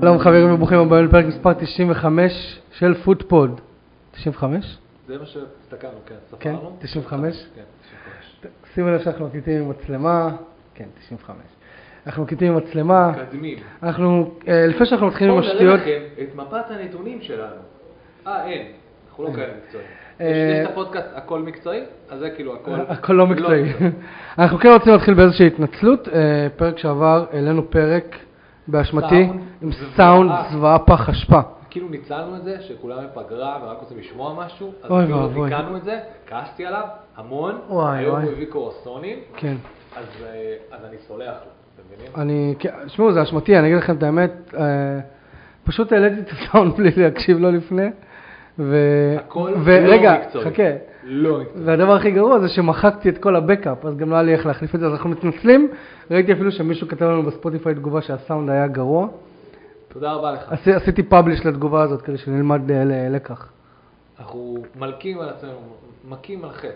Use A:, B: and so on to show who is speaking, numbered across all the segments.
A: שלום חברים וברוכים הבאים לפרק מספר 95 של פודפוד. 95?
B: זה מה שהסתכלנו, כן,
A: כן,
B: ספרנו.
A: 95?
B: כן, 95.
A: שימו לב שאנחנו מקליטים עם מצלמה, כן, 95. אנחנו מקליטים עם מצלמה,
B: מקדמים.
A: אנחנו, אה, לפני שאנחנו מתחילים עם
B: בואו נראה
A: השטויות,
B: לכם את מפת הנתונים שלנו. אה, אין. אנחנו לא כאלה מקצועיים. יש
A: אה,
B: יש את הפודקאסט הכל מקצועי, אז זה כאילו הכל.
A: הכל לא מקצועי. אנחנו כן רוצים להתחיל באיזושהי התנצלות, אה, פרק שעבר העלינו פרק באשמתי
B: סאונד
A: עם
B: זוועה.
A: סאונד זוועה פח אשפה.
B: כאילו ניצלנו את זה שכולם בפגרה ורק רוצים לשמוע משהו, אז
A: אוי
B: אפילו לא
A: ואבוי.
B: תיקנו את זה, כעסתי עליו המון,
A: וואי,
B: היום
A: וואי.
B: הוא הביא קורסונים,
A: כן.
B: אז אה, אז אני סולח לו, אתם מבינים?
A: אני, כן, שמעו, זה אשמתי, אני אגיד לכם את האמת, אה, פשוט העליתי את הסאונד בלי להקשיב לו לפני, ו...
B: הכל
A: ורגע,
B: לא מקצועי.
A: חכה,
B: לא מקצועי.
A: והדבר הכי גרוע זה שמחקתי את כל הבקאפ, אז גם לא היה לי איך להחליף את זה, אז אנחנו מתנצלים, ראיתי אפילו שמישהו כתב לנו בספוטיפיי תגובה שהסאונד היה גרוע,
B: תודה רבה לך.
A: עשי, עשיתי פאבליש לתגובה הזאת כדי שנלמד ל- ל- לקח,
B: אנחנו מלקים על עצמנו, מכים על חטא.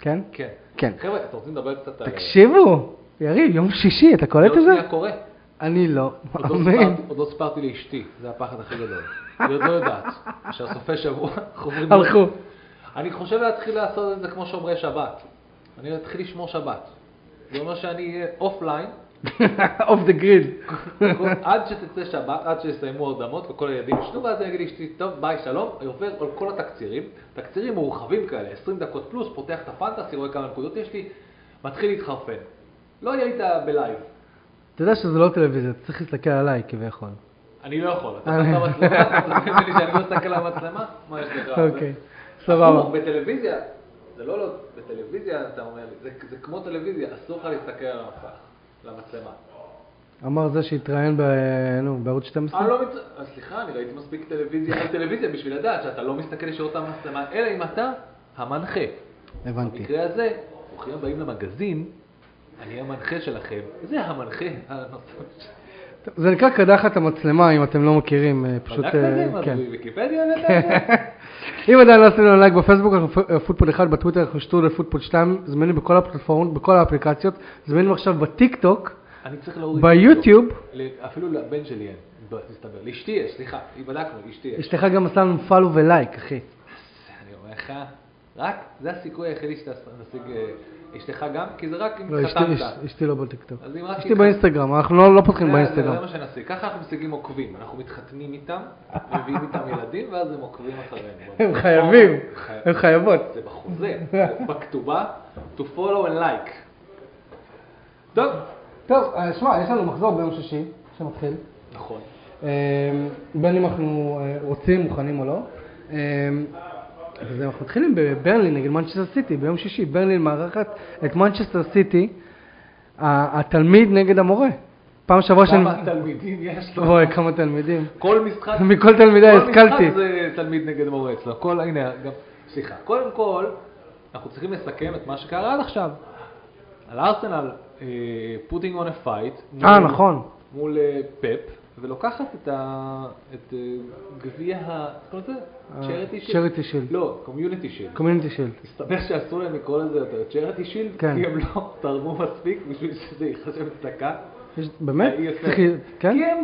A: כן?
B: כן.
A: כן.
B: חבר'ה, אתם רוצים לדבר קצת על...
A: תקשיבו, יריב, יום שישי, אתה קולט את
B: זה?
A: זה?
B: עוד לא אה, שנייה קורה.
A: אני לא,
B: עוד לא
A: מאמין.
B: סיפרתי- עוד לא סיפרתי לאשתי, זה הפחד הכי גדול. היא עוד לא יודעת, שהסופי שבוע חוברים...
A: הלכו.
B: אני חושב להתחיל לעשות את זה כמו שומרי שבת. אני אתחיל לשמור שבת. זה אומר שאני אהיה אופליין,
A: אוף דה גריד.
B: כל- עד שתצא שבת, עד שיסיימו הרדמות וכל הילדים ישנו, ואז אני אגיד לאשתי, טוב, ביי, שלום, אני עובר על כל התקצירים, תקצירים מורחבים כאלה, 20 דקות פלוס, פותח את הפנטסי, רואה כמה נקודות יש לי, מתחיל להתחרפן. לא יהיה איתה בלייב.
A: אתה יודע שזה לא טלוויזיה, אתה צריך להסתכל עליי כביכול.
B: אני לא יכול, אתה שם מצלמה, אתה מבין לי שאני לא מסתכל על המצלמה? מה יש לך?
A: אוקיי,
B: זה-
A: סבבה.
B: הפוך, בטלוויזיה, זה לא לא, בטלוויזיה אתה אומר לי, זה- זה כמו טלוויזיה, אסור לך להסתכל על המסך, על המצלמה.
A: אמר זה שהתראיין ב... נו, בערוץ 12?
B: אני לא מת... אה, סליחה, אני ראיתי מספיק טלוויזיה על טלוויזיה בשביל לדעת שאתה לא מסתכל ישירות על המצלמה, אלא אם אתה המנחה.
A: הבנתי.
B: במקרה הזה, ברוכים הבאים למגזין, אני המנחה שלכם, זה המנחה הנוסף.
A: טוב, זה נקרא קדחת המצלמה, אם אתם לא מכירים, אה, פשוט...
B: בדקת את
A: אה,
B: זה? מה זה,
A: כן.
B: בוויקיפדיה? הבאת את זה?
A: אם עדיין לא עשיתם לנו לייק בפייסבוק, אנחנו פ- פודפוד 1, בטוויטר אנחנו שטרודל פודפוד 2, זמינים בכל הפלטפורמות, בכל האפליקציות, זמינים עכשיו בטיקטוק,
B: אני צריך להוריד...
A: ביוטיוב.
B: ל- אפילו לבן שלי אין, ב- מסתבר. לאשתי יש, סליחה, היא בדקנו, לאשתי יש.
A: אשתך גם עשה לנו follow ולייק, אחי.
B: אני אומר לך, רק, זה הסיכוי היחידי שאתה תשיג... אה, אשתך גם? כי זה רק אם
A: לא, אשתי-
B: התחתנת.
A: אש- אשתי לא בטיקטוק.
B: אז אם רק
A: אשתי
B: התחת-
A: באינסטגרם, אנחנו לא- לא פותחים
B: זה- זה
A: באינסטגרם.
B: מה שנשיג. ככה אנחנו משיגים עוקבים. אנחנו מתחתנים איתם, מביאים איתם ילדים, ואז הם עוקבים אחרינו.
A: הם חייבים,
B: חי-
A: הם חייבות.
B: זה בחוזה, בכתובה, to follow and like. טוב,
A: טוב, אה, שמע, יש לנו מחזור ביום שישי, שמתחיל.
B: נכון.
A: אמ, בין אם אנחנו אה, רוצים, מוכנים או לא. אמ, אז אנחנו מתחילים בברלין נגד מנצ'סטר סיטי, ביום שישי. ברלין מארחת את מנצ'סטר סיטי, ה- התלמיד נגד המורה. פעם שעברה
B: כמה תלמידים יש לו?
A: אוי, כמה תלמידים.
B: כל משחק
A: נכון. מכל תלמידי
B: כל
A: השכלתי.
B: משחק זה תלמיד נגד מורה אצלו. כל, הנה, גם, סליחה. קודם כל, אנחנו צריכים לסכם את מה שקרה עד עכשיו. על ארסנל, אה, putting on a fight.
A: אה,
B: מול-
A: נכון.
B: מול אה, פפ, ולוקחת את, ה, את אה, גביע ה... איך קוראים לזה? צ'ריטי שילד?
A: אה, charity shield.
B: לא, קומיוניטי שילד.
A: קומיוניטי שילד.
B: מסתבר שאסור להם לקרוא לזה יותר צ'ריטי שילד,
A: כן.
B: כי הם לא תרמו מספיק בשביל שזה ייחשב צדקה.
A: יש- באמת?
B: אה, יפה.
A: צריך- כן?
B: כי הם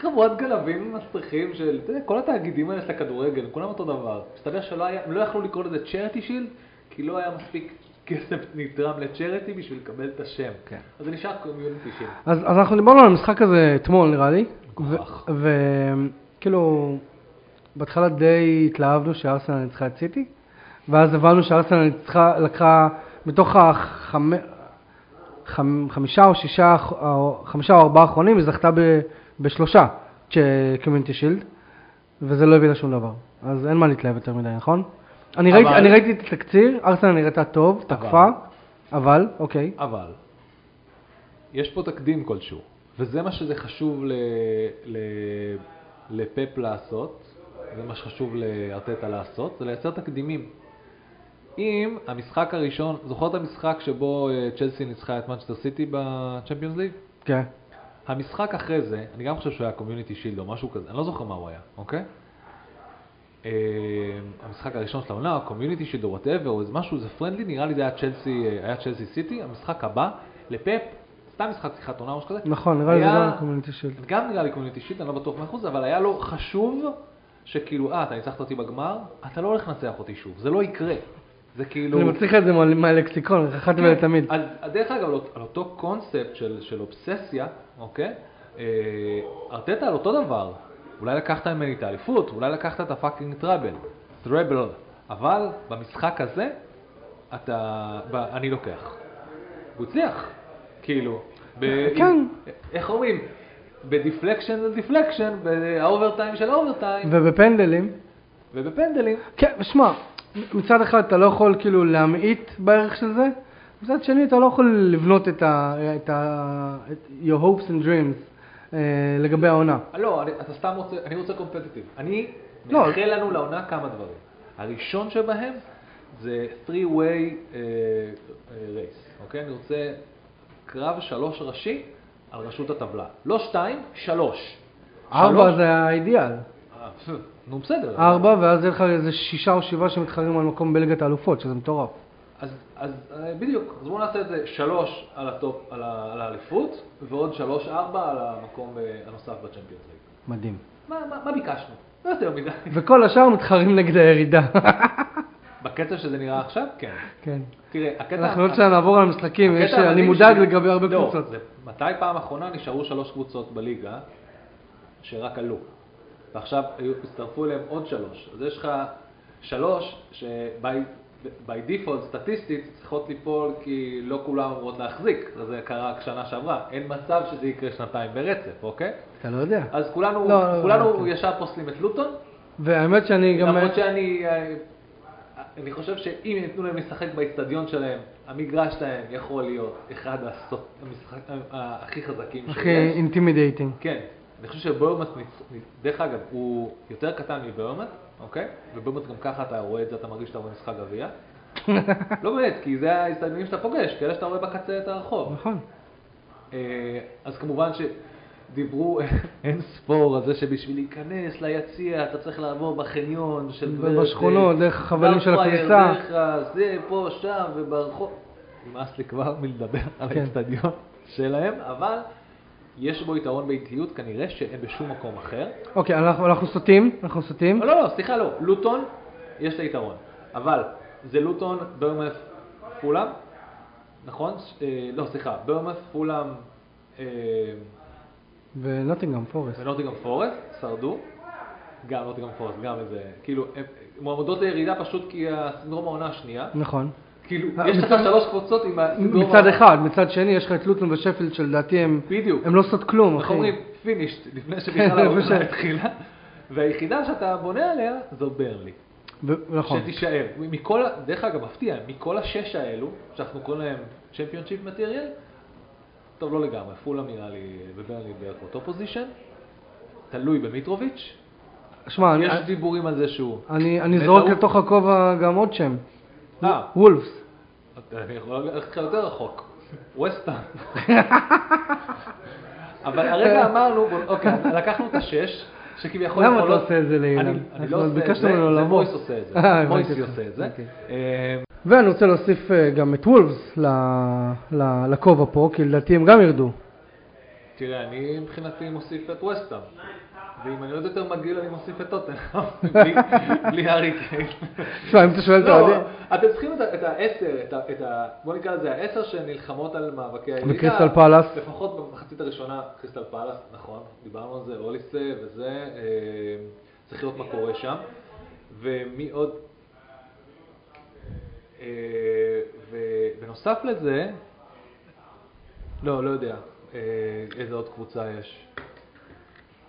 B: חבורת גנבים מסריחים של, אתה יודע, כל התאגידים האלה של הכדורגל, כולם אותו דבר. מסתבר שלא היה, הם לא יכלו לקרוא לזה צ'רטי שילד, כי לא היה מספיק כסף נתרם לצ'רטי בשביל לקבל את השם.
A: כן.
B: אז זה נשאר קומיוניטי שילד.
A: אז, אז אנחנו דיברנו על המשחק הזה אתמול נראה לי,
B: מגוחך.
A: וכאילו בהתחלה די התלהבנו שארסנל ניצחה את סיטי, ואז הבנו שארסנל ניצחה, לקחה מתוך החמ... חמ... חמישה או שישה, או- חמישה או ארבעה האחרונים, היא זכתה ב... בשלושה קומיונטי שילד, וזה לא הביא לה שום דבר, אז אין מה להתלהב יותר מדי, נכון? אני,
B: אבל-
A: ראיתי, אני ראיתי את התקציר, ארסנל נראתה טוב, תקפה, אבל, אוקיי,
B: אבל, יש פה תקדים כלשהו, וזה מה שזה חשוב ל, ל, לפאפ לעשות, זה מה שחשוב לארטטה לעשות, זה לייצר תקדימים. אם המשחק הראשון, זוכר את המשחק שבו אה, צ'לסי ניצחה את מנצ'סטר סיטי בצ'מפיונס ליג?
A: כן,
B: המשחק אחרי זה, אני גם חושב שהוא היה קומיוניטי שילד או משהו כזה, אני לא זוכר מה הוא היה, אוקיי? אה, המשחק הראשון של העונה, קומיוניטי שילד או אה, וואטאבר, או איזה משהו, זה פרנדלי, נראה לי זה היה צ'לסי, היה צ'לסי סיטי, המשחק הבא, לפאפ, סתם משחק שיחת עונה או משהו כזה.
A: נכון, נראה לי זה
B: היה-
A: גם קומיוניטי שילד.
B: גם נראה לי קומיוניטי שיט, אני לא בטוח מאה אחוז, אבל היה לו חשוב שכאילו, אה, אתה ניצחת אותי בגמר, אתה לא הולך לנצח אותי שוב, זה לא יקרה. זה כאילו... כן.
A: אני מצליח את זה מה- מהלקסיקון, אחת ולתמיד.
B: אז אז דרך אגב, על אות- על אותו קונספט של, של אובססיה, אוקיי? אה, ארטטה על אותו דבר. אולי לקחת ממני את האליפות, אולי לקחת את הפאקינג טראבל, טראבל, אבל במשחק הזה, אתה... ב, אני לוקח. הוא הצליח, כאילו. ב,
A: כן.
B: איך אומרים? בדיפלקשן זה דיפלקשן, באוברטיים של אוברטיים,
A: ובפנדלים,
B: ובפנדלים.
A: כן, שמע, מצד אחד אתה לא יכול כאילו להמעיט בערך של זה, מצד שני אתה לא יכול לבנות את ה... את ה... את your hopes and dreams אה, לגבי העונה.
B: לא, אני, אתה סתם רוצה, אני רוצה קומפטטיב. אני
A: לא.
B: מאחל לנו לעונה כמה דברים. הראשון שבהם זה 3-way רייס, אוקיי? אני רוצה קרב שלוש ראשי על ראשות הטבלה. לא שתיים, שלוש.
A: ארבע
B: שלוש-
A: זה האידיאל.
B: אה, פו, נו בסדר.
A: ארבע, ואז יהיה לך איזה שישה או שבעה שמתחרים על מקום בליגת האלופות, שזה מטורף.
B: אז, אז אה, בדיוק, אז בואו נעשה את זה שלוש על הטופ, על ה- על האליפות, ועוד שלוש-ארבע על המקום אה, הנוסף בצ'מפיונס ליג.
A: מדהים.
B: מה, מה, מה ביקשנו? לא יותר מדי.
A: וכל השאר מתחרים נגד הירידה.
B: בקצב שזה נראה עכשיו, כן.
A: כן.
B: תראה, הקטע...
A: אנחנו עוד שנייה נעבור על המשחקים,
B: הקטע
A: יש-
B: המדהים
A: אני מודאג
B: שלי-
A: לגבי הרבה קבוצות.
B: לא, זה- מתי פעם אחרונה נשארו שלוש קבוצות בליגה שרק עלו, ועכשיו היו- הצטרפו אליהם עוד שלוש. אז יש לך שלוש שביי דיפולט סטטיסטית צריכות ליפול כי לא כולם אמורות להחזיק, אז זה קרה רק שנה שעברה. אין מצב שזה יקרה שנתיים ברצף, אוקיי?
A: אתה לא יודע.
B: אז
A: לא,
B: כולנו,
A: לא, לא,
B: כולנו
A: אוקיי.
B: ישר פוסלים את לוטון,
A: והאמת שאני גם...
B: למרות שאני... אה, אני חושב שאם ייתנו להם לשחק באיצטדיון שלהם, המגרש שלהם יכול להיות אחד הסוט- המשחק, ה- הכי חזקים
A: הכי
B: שיש.
A: אינטימידייטינג.
B: כן. אני חושב שבויומט, דרך אגב, הוא יותר קטן מבויומט, אוקיי? ובויומט גם ככה אתה רואה את זה, אתה מרגיש שאתה רואה משחק גביע. לא באמת, כי זה האיצטדיונים שאתה פוגש, כאלה שאתה רואה בקצה את הרחוב.
A: נכון.
B: אה, אז כמובן שדיברו אין ספור על זה שבשביל להיכנס ליציע אתה צריך לעבור בחניון של גברת...
A: בשכונות,
B: אה,
A: דרך החברים של
B: דארפרייר,
A: הכניסה.
B: דרך ה- זה, פה, שם וברחוב. נמאס לי כבר מלדבר על
A: כן.
B: האצטדיון שלהם, אבל יש בו יתרון באיטיות כנראה שאין בשום מקום אחר.
A: אוקיי, אנחנו אנחנו סוטים, אנחנו סוטים.
B: לא, לא, סליחה, לא. לוטון, יש לה יתרון. אבל זה לוטון, ברמף, פולאם, נכון? ש- אה, לא, סליחה, ברמף, פולאם, אה,
A: ונוטינגאם פורסט.
B: ונוטיגרם פורסט שרדו, גם נוטיגרם פורסט, גם איזה, כאילו, הם- מועמדות לירידה פשוט כי הסינדרום העונה השנייה,
A: נכון.
B: כאילו,
A: אה,
B: יש לך
A: מצד-
B: שלוש קבוצות עם הסינדרום
A: מצד אחד, מצד שני יש לך את לוטון ושפילד שלדעתי הם
B: בדיוק,
A: הם לא עושות כלום,
B: אנחנו
A: אחי.
B: אומרים פינישט, לפני שבכלל
A: זה פשוט.
B: העונה התחילה, והיחידה שאתה בונה עליה זו ברלי,
A: ו- נכון.
B: שתישאר, מכל, ה- דרך אגב, מפתיע, מכל השש האלו, שאנחנו קוראים להם צ'מפיונשיפ מטריאל, טוב, לא לגמרי, פולה נראה לי, וברלי בערך אותו פוזיישן, תלוי במיטרוביץ',
A: שמע, אני-
B: יש דיבורים על זה שהוא...
A: אני- אני
B: בטעות.
A: זורק לתוך הכובע גם עוד שם.
B: אה, אוקיי,
A: וולפס.
B: אני יכול ללכת לך יותר רחוק. ווסטהאם. אבל הרגע אמרנו, בוא- אוקיי, לקחנו את השש, שכביכול...
A: למה אתה
B: יכולות-
A: עושה את זה לאילן?
B: אני- אני
A: אנחנו
B: לא עושה את
A: ביקשנו
B: זה,
A: ממנו
B: זה
A: לבוא.
B: מויס עושה את זה.
A: אה, הבנתי
B: מויס
A: אותך.
B: עושה את זה.
A: אוקיי.
B: אה,
A: ואני רוצה להוסיף אה, גם את וולפס ל- ל- לכובע פה, כי לדעתי הם גם ירדו.
B: תראה, אני מבחינתי מוסיף את ווסטהאם. ואם אני עוד יותר מגעיל, אני מוסיף את טוטנאם. בלי הארי קיין.
A: תשמע, אם אתה שואל את
B: לא,
A: האוהדים...
B: אתם צריכים את ה- את העשר, את ה- את ה... בוא נקרא לזה העשר שנלחמות על מאבקי הירידה.
A: וקריסטל פלאס.
B: לפחות במחצית הראשונה, קריסטל פלאס, נכון, דיברנו על זה, אוליסה וזה, אה, צריך לראות מה קורה שם. ומי עוד? אה, ובנוסף לזה, לא, לא יודע אה, איזה עוד קבוצה יש.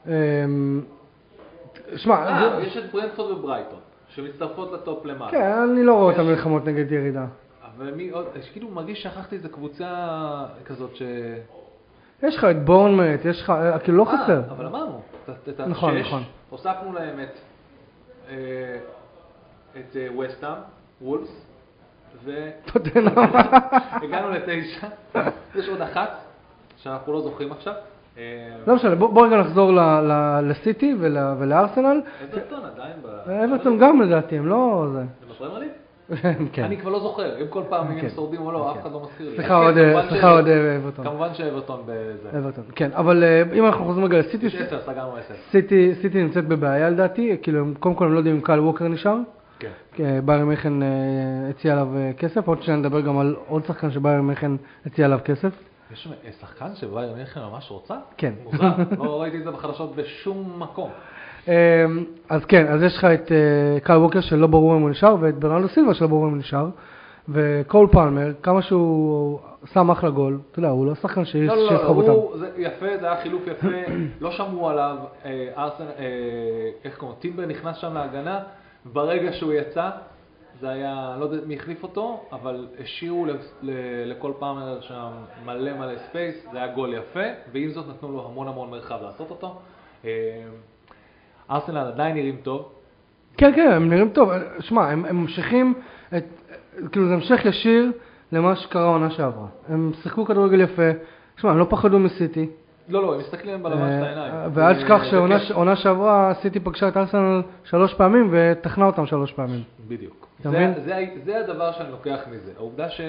A: אמ, שמע,
B: אה,
A: זה-
B: יש את ברנדפורד וברייטון, שמצטרפות לטופ למעלה.
A: כן, אני לא רואה אותם נלחמות נגד ירידה.
B: אבל מי עוד, יש כאילו מרגיש ששכחתי איזה קבוצה כזאת ש...
A: יש לך את בורנמט, יש לך, אה, כאילו לא
B: אה,
A: חסר.
B: אבל אמרנו, את- את השש,
A: נכון, נכון.
B: הוספנו להם את, אה, את אה, וסטהאם, וולס,
A: טוטנאם.
B: והגענו לתשע, יש עוד אחת שאנחנו לא זוכרים עכשיו. אה,
A: לא משנה, בוא- בוא רגע נחזור ל- ל- לסיטי ול- ולארסנל.
B: אברטון עדיין ב...
A: אברטון גם לדעתי, הם לא... זה.
B: הם בפרמייר ליג?
A: כן.
B: אני כבר לא זוכר, אם כל פעם אם הם
A: כן.
B: שורדים או לא,
A: כן.
B: אף אחד לא מזכיר לי.
A: סליחה
B: כן,
A: עוד,
B: כמובן
A: סליחה
B: ש-
A: עוד אה, אברטון.
B: כמובן שאברטון בזה.
A: אברטון, כן, אבל אה, אם אנחנו חוזרים רגע לסיטי,
B: יש עשר, סגרנו עשר.
A: סיטי, סיטי נמצאת בבעיה לדעתי, כאילו הם- קודם כל הם לא יודעים אם קהל ווקר נשאר,
B: כן.
A: כי, אה, בארי מיכן אה, הציע עליו אה, כסף, עוד שניה נדבר גם על עוד שחקן שבארי מיכן הציע עליו כסף,
B: יש שם שחקן שבאיירן מינכן ממש רוצה?
A: כן.
B: מוזר, לא ראיתי את זה בחדשות בשום מקום.
A: אה, אז כן, אז יש לך את אה, קהל ווקר שלא ברור אם הוא נשאר, ואת ברנדו סילבה שלא ברור אם הוא נשאר, וקול פלמר, כמה שהוא שם אחלה גול, אתה יודע, הוא לא שחקן שיש-
B: לא, לא, לא,
A: שיסחוב אותם.
B: הוא, זה יפה, זה היה חילוף יפה, לא שמעו עליו, אה, ארסן, אה, איך קוראים, לו? טימבר נכנס שם להגנה, ברגע שהוא יצא, זה היה, לא יודע מי החליף אותו, אבל השאירו ל- ל- לכל פאמר שם מלא מלא ספייס, זה היה גול יפה, ועם זאת נתנו לו המון המון מרחב לעשות אותו. אה, ארסנל עדיין נראים טוב,
A: כן, כן, הם נראים טוב. שמע, הם, הם ממשיכים, את, כאילו זה המשך ישיר למה שקרה העונה שעברה. הם שיחקו כדורגל יפה, שמע, הם לא פחדו מסיטי.
B: לא, לא, הם מסתכלים בלבן של העיניים.
A: אה, ואל
B: זה-
A: תשכח
B: זה
A: שעונה
B: כיף.
A: ש- עונה שעברה, סיטי פגשה את ארסנל שלוש פעמים וטחנה אותם שלוש פעמים.
B: בדיוק.
A: אתה
B: זה-
A: מבין?
B: זה ה- זה הדבר שאני לוקח מזה. העובדה ש...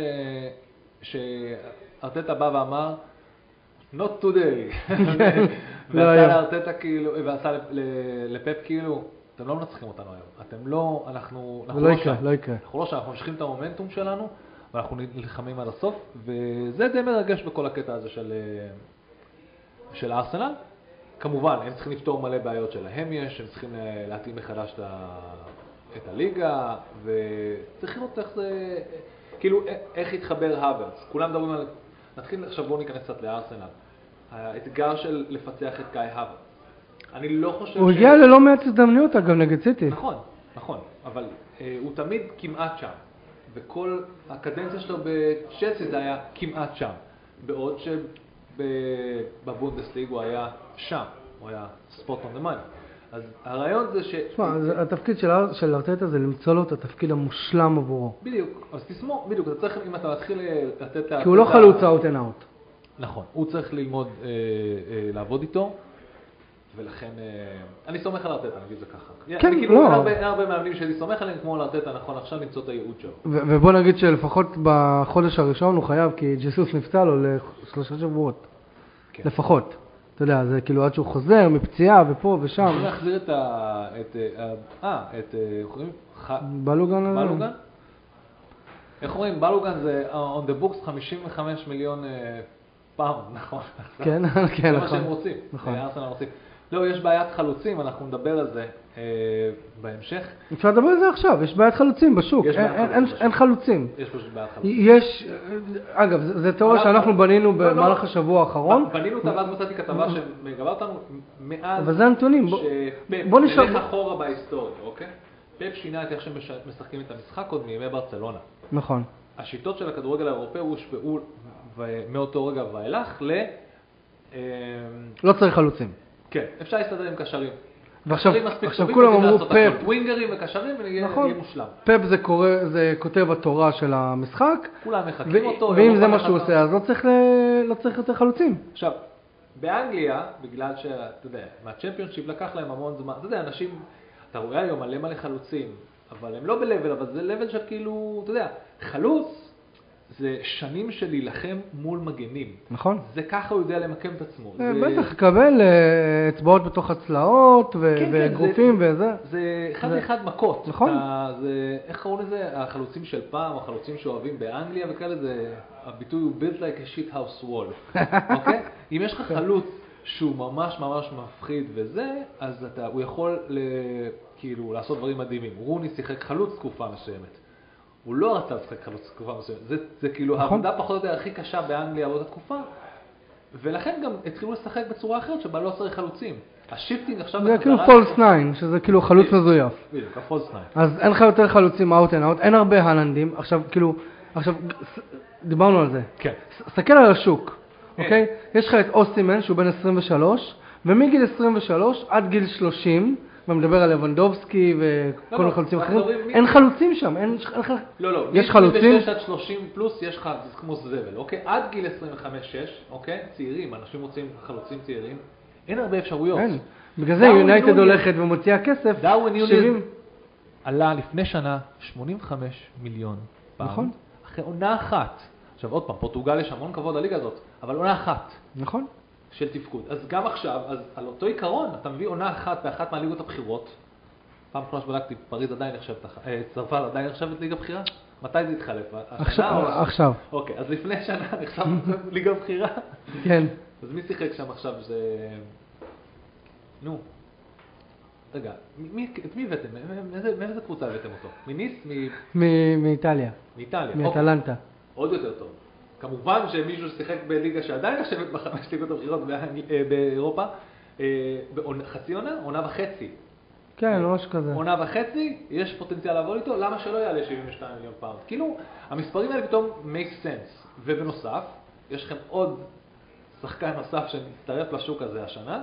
B: שארטטה בא ואמר, Not today.
A: לא
B: ועשה
A: היום.
B: לארטטה כאילו, ועשה ל- ל- לפפ כאילו, אתם לא מנצחים אותנו היום. אתם לא, אנחנו...
A: זה
B: אנחנו
A: לא יקרה,
B: שם.
A: לא יקרה.
B: אנחנו לא שם, אנחנו ממשיכים את המומנטום שלנו, ואנחנו נלחמים עד הסוף, וזה די מרגש בכל הקטע הזה של, אה, של ארסנל. כמובן, הם צריכים לפתור מלא בעיות שלהם יש, הם צריכים אה, להתאים מחדש את, ה... את הליגה, וצריכים לראות איך זה, כאילו, א- איך יתחבר האברץ. כולם מדברים על... נתחיל, עכשיו בואו ניכנס קצת לארסנל. האתגר של לפצח את גיא האברץ. אני לא חושב
A: הוא הגיע ללא מעט הזדמנויות אגב נגד סיטי.
B: נכון, נכון, אבל אה, הוא תמיד כמעט שם, וכל הקדנציה שלו בצ'לסי זה היה כמעט שם, בעוד שבבונדסליג הוא היה שם, הוא היה spot on the money. אז הרעיון זה ש...
A: שמע, זה- התפקיד של, אר- של ארטטה זה למצוא לו את התפקיד המושלם עבורו.
B: בדיוק, אז תסמור, בדיוק, אתה צריך, אם אתה מתחיל אה, לתת... לה-
A: כי הוא לא
B: לתת לה-
A: חלוץ out and out.
B: נכון, הוא צריך ללמוד אה, אה, לעבוד איתו, ולכן אה, אני סומך על ארטטה, נגיד זה ככה.
A: כן,
B: אני, כאילו,
A: לא.
B: אין הרבה, אין הרבה מאמנים שאני סומך עליהם כמו על ארטטה, נכון, עכשיו למצוא את הייעוד שלו.
A: ו- ובוא נגיד שלפחות בחודש הראשון הוא חייב, כי ג'סוס נפצע לו לשלושה שבועות.
B: כן.
A: לפחות. אתה יודע, זה כאילו עד שהוא חוזר מפציעה ופה ושם.
B: אפשר להחזיר את ה... את... אה, אה, את... אה, איך קוראים? ח-
A: בלוגן? הזה?
B: בלוגן? איך אומרים? בלוגן זה uh, on the books 55 מיליון אה, פאונד, נכון?
A: כן,
B: זה
A: כן,
B: מה
A: נכון.
B: שהם רוצים.
A: נכון.
B: אה, ארסנל רוצים. לא, יש בעיית חלוצים, אנחנו נדבר על זה אה, בהמשך.
A: אפשר לדבר על זה עכשיו, יש בעיית חלוצים בשוק.
B: יש בעיית
A: אין-
B: חלוצים
A: אין-
B: בשוק.
A: אין חלוצים.
B: יש פשוט בעיית חלוצים.
A: יש, אגב, ז- זו תיאוריה
B: אנחנו-
A: שאנחנו בנינו
B: לא, לא.
A: במהלך השבוע האחרון,
B: בנינו אותה ואז מצאתי כתבה שמגבה אותנו מאז...
A: אה. אבל זה הנתונים. בוא-
B: שפפ,
A: בוא נשאר-
B: נלך אחורה בהיסטוריה, אוקיי? פפ שינה את איך שהם מש- משחקים את המשחק עוד מימי ברצלונה.
A: נכון.
B: השיטות של הכדורגל האירופאי הושפעו ו- מאותו רגע ואילך ל... אמ,
A: לא צריך חלוצים.
B: כן, אפשר להסתדר עם קשרים.
A: ועכשיו
B: קשרים מספיק
A: עכשיו
B: טובים,
A: כולם
B: יודעים
A: אמרו
B: לעשות הכל.
A: פאפ,
B: ווינגרים וקשרים ונהיה
A: נכון.
B: יהיה מושלם.
A: פאפ זה קורא- זה כותב התורה של המשחק,
B: כולם מחקים
A: ו-
B: אותו.
A: ואם זה
B: אירופה
A: מה שהוא
B: מחכה.
A: עושה, אז לא צריך ל- לא צריך יותר חלוצים.
B: עכשיו, באנגליה, בגלל שאתה יודע, מהצ'מפיונשיפ לקח להם המון זמן, אתה יודע, אנשים, אתה רואה היום מלא מלא חלוצים, אבל הם לא ב-level, אבל זה level של כאילו, אתה יודע, חלוץ זה שנים של להילחם מול מגנים.
A: נכון.
B: זה ככה הוא יודע למקם את עצמו.
A: אה,
B: זה-
A: בטח, קבל אה, אצבעות בתוך הצלעות ו-
B: כן, כן,
A: ואגרופים וזה.
B: זה אחד
A: זה-
B: לאחד מכות.
A: נכון.
B: אתה, זה, איך קראו לזה? החלוצים של פעם, החלוצים שאוהבים באנגליה וכאלה, זה, הביטוי הוא built like a shit house wall, אוקיי? אם יש לך
A: כן.
B: חלוץ שהוא ממש ממש מפחיד וזה, אז אתה, הוא יכול ל, כאילו לעשות דברים מדהימים. רוני שיחק חלוץ תקופה מסוימת. הוא לא רצה לשחק חלוץ תקופה מסוימת. זה, זה כאילו
A: נכון.
B: העבודה פחות או יותר הכי קשה באנגליה באותה תקופה. ולכן גם התחילו לשחק בצורה אחרת שבה לא צריך חלוצים. השיפטינג עכשיו...
A: זה כאילו
B: בחזרה-
A: פולס 9, שזה כאילו חלוץ
B: בדיוק.
A: מזויף.
B: בדיוק, הפולסנייט.
A: אז אין לך יותר חלוצים out and out, אין הרבה הלנדים, עכשיו כאילו, עכשיו, ס- דיברנו על זה.
B: כן.
A: ס- סתכל על השוק,
B: כן.
A: אוקיי? יש לך את אוסימן שהוא בן 23, ומגיל 23 עד גיל 30, ואני מדבר על לבנדובסקי
B: לא,
A: וכל
B: לא,
A: מיני חלוצים
B: אנחנו
A: אחרים,
B: מדברים מי-
A: אין חלוצים שם, אין אין לך...
B: לא, לא.
A: יש חלוצים?
B: מ-26 עד 30 פלוס יש לך, זה כמו זבל, אוקיי? עד גיל 25-6, אוקיי? צעירים, אנשים רוצים חלוצים צעירים. אין הרבה אפשרויות.
A: אין. בגלל זה
B: דארווין
A: יונייטד
B: נוניז.
A: הולכת ומוציאה כסף,
B: דארווין יוניז.
A: 70,
B: עלה לפני שנה 85 מיליון פעם.
A: נכון.
B: אחרי עונה אחת. עכשיו עוד פעם, פורטוגל יש המון כבוד לליגה הזאת, אבל עונה אחת
A: נכון.
B: של תפקוד. אז גם עכשיו, אז על אותו עיקרון, אתה מביא עונה אחת באחת מהליגות הבכירות. פעם אחרונה שבדקתי, פריז עדיין נחשבת, אח- אה, צרפת עדיין נחשבת ליגה בכירה? מתי זה התחלף? השנה
A: עכשיו-
B: או-
A: עכשיו.
B: אוקיי, אז לפני שנה נחשבת ליגה בכירה.
A: כן.
B: אז מי שיחק שם עכשיו זה... נו. רגע, מי- מי- את מי הבאתם? מאיזה- מאיזה קבוצה הבאתם אותו? מניס? מ-
A: מ- מאיטליה,
B: מאיטליה. אוקיי.
A: מאטלנטה.
B: עוד יותר טוב. כמובן שמישהו ששיחק בליגה שעדיין נחשבת בחמש ליגות הבכירות באנג- אה, באירופה, אה, בעונה- חצי עונה? עונה וחצי.
A: כן, משהו כזה.
B: עונה וחצי, יש פוטנציאל לעבוד איתו, למה שלא יעלה 72 מיליון פאונד? כאילו, המספרים האלה פתאום make sense. ובנוסף, יש לכם עוד שחקן נוסף שמצטרף לשוק הזה השנה,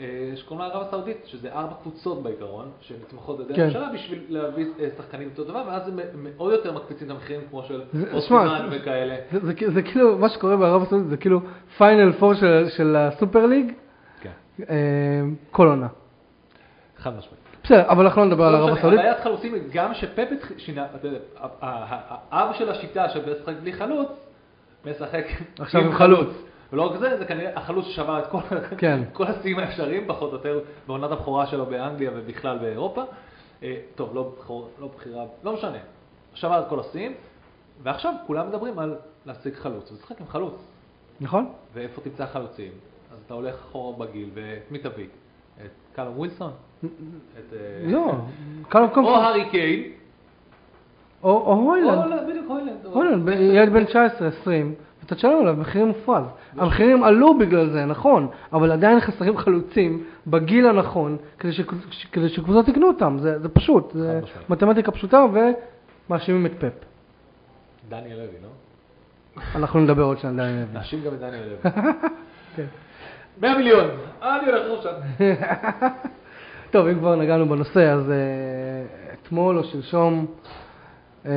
B: אה, שקוראים לה ערב הסעודית, שזה ארבע קבוצות בעיקרון, שנתמכות על ידי
A: כן.
B: הממשלה בשביל להביא אה, שחקנים אותו דבר, ואז הם מ- מאוד יותר מקפיצים את המחירים כמו של
A: זה-
B: אוסמן
A: שמע, זה-
B: וכאלה.
A: זה, זה, זה כאילו, מה שקורה בערב הסעודית זה כאילו פיינל פור של, של הסופר ליג,
B: כן,
A: אה, כל עונה.
B: חד משמעית.
A: בסדר, אבל אנחנו לא נדבר על
B: לא
A: ערב
B: משנה,
A: הסעודית.
B: הבעיה חלוצים, גם שפפ התח- שינה, אתה יודע, ה- ה- האב של השיטה של לשחק בלי חלוץ, משחק
A: עכשיו עם חלוץ.
B: ולא רק זה, זה כנראה החלוץ ששבר את כל,
A: כן.
B: כל השיאים האפשריים, פחות או יותר, בעונת הבכורה שלו באנגליה ובכלל באירופה. אה, טוב, לא, בכור, לא בחירה, לא משנה. שבר את כל השיאים, ועכשיו כולם מדברים על להשיג חלוץ, ולשחק עם חלוץ.
A: נכון?
B: ואיפה תמצא חלוצים? אז אתה הולך אחורה בגיל, ואת מי תביא? את קלום ווילסון? את... אה,
A: לא, קל וקום.
B: או הארי קיין,
A: או או הוילנד.
B: או, לא, בדיוק, הולנד.
A: הולנד, ב- ילד בן 19-20, אתה תשלם עליו מחיר מופרז. המחירים עלו בגלל זה, נכון, אבל עדיין חסרים חלוצים בגיל הנכון כדי שקבוצ- ש- כדי שקבוצות יקנו אותם, זה זה פשוט, זה
B: משמעית.
A: מתמטיקה פשוטה ומאשימים את פפ.
B: דניאל לוי, לא?
A: אנחנו נדבר עוד שנה, דני לוי.
B: נאשים גם את דניאל לוי.
A: כן.
B: 100 מיליון, אני הולך לראשון.
A: טוב, אם כבר נגענו בנושא, אז אה, אתמול או שלשום אה,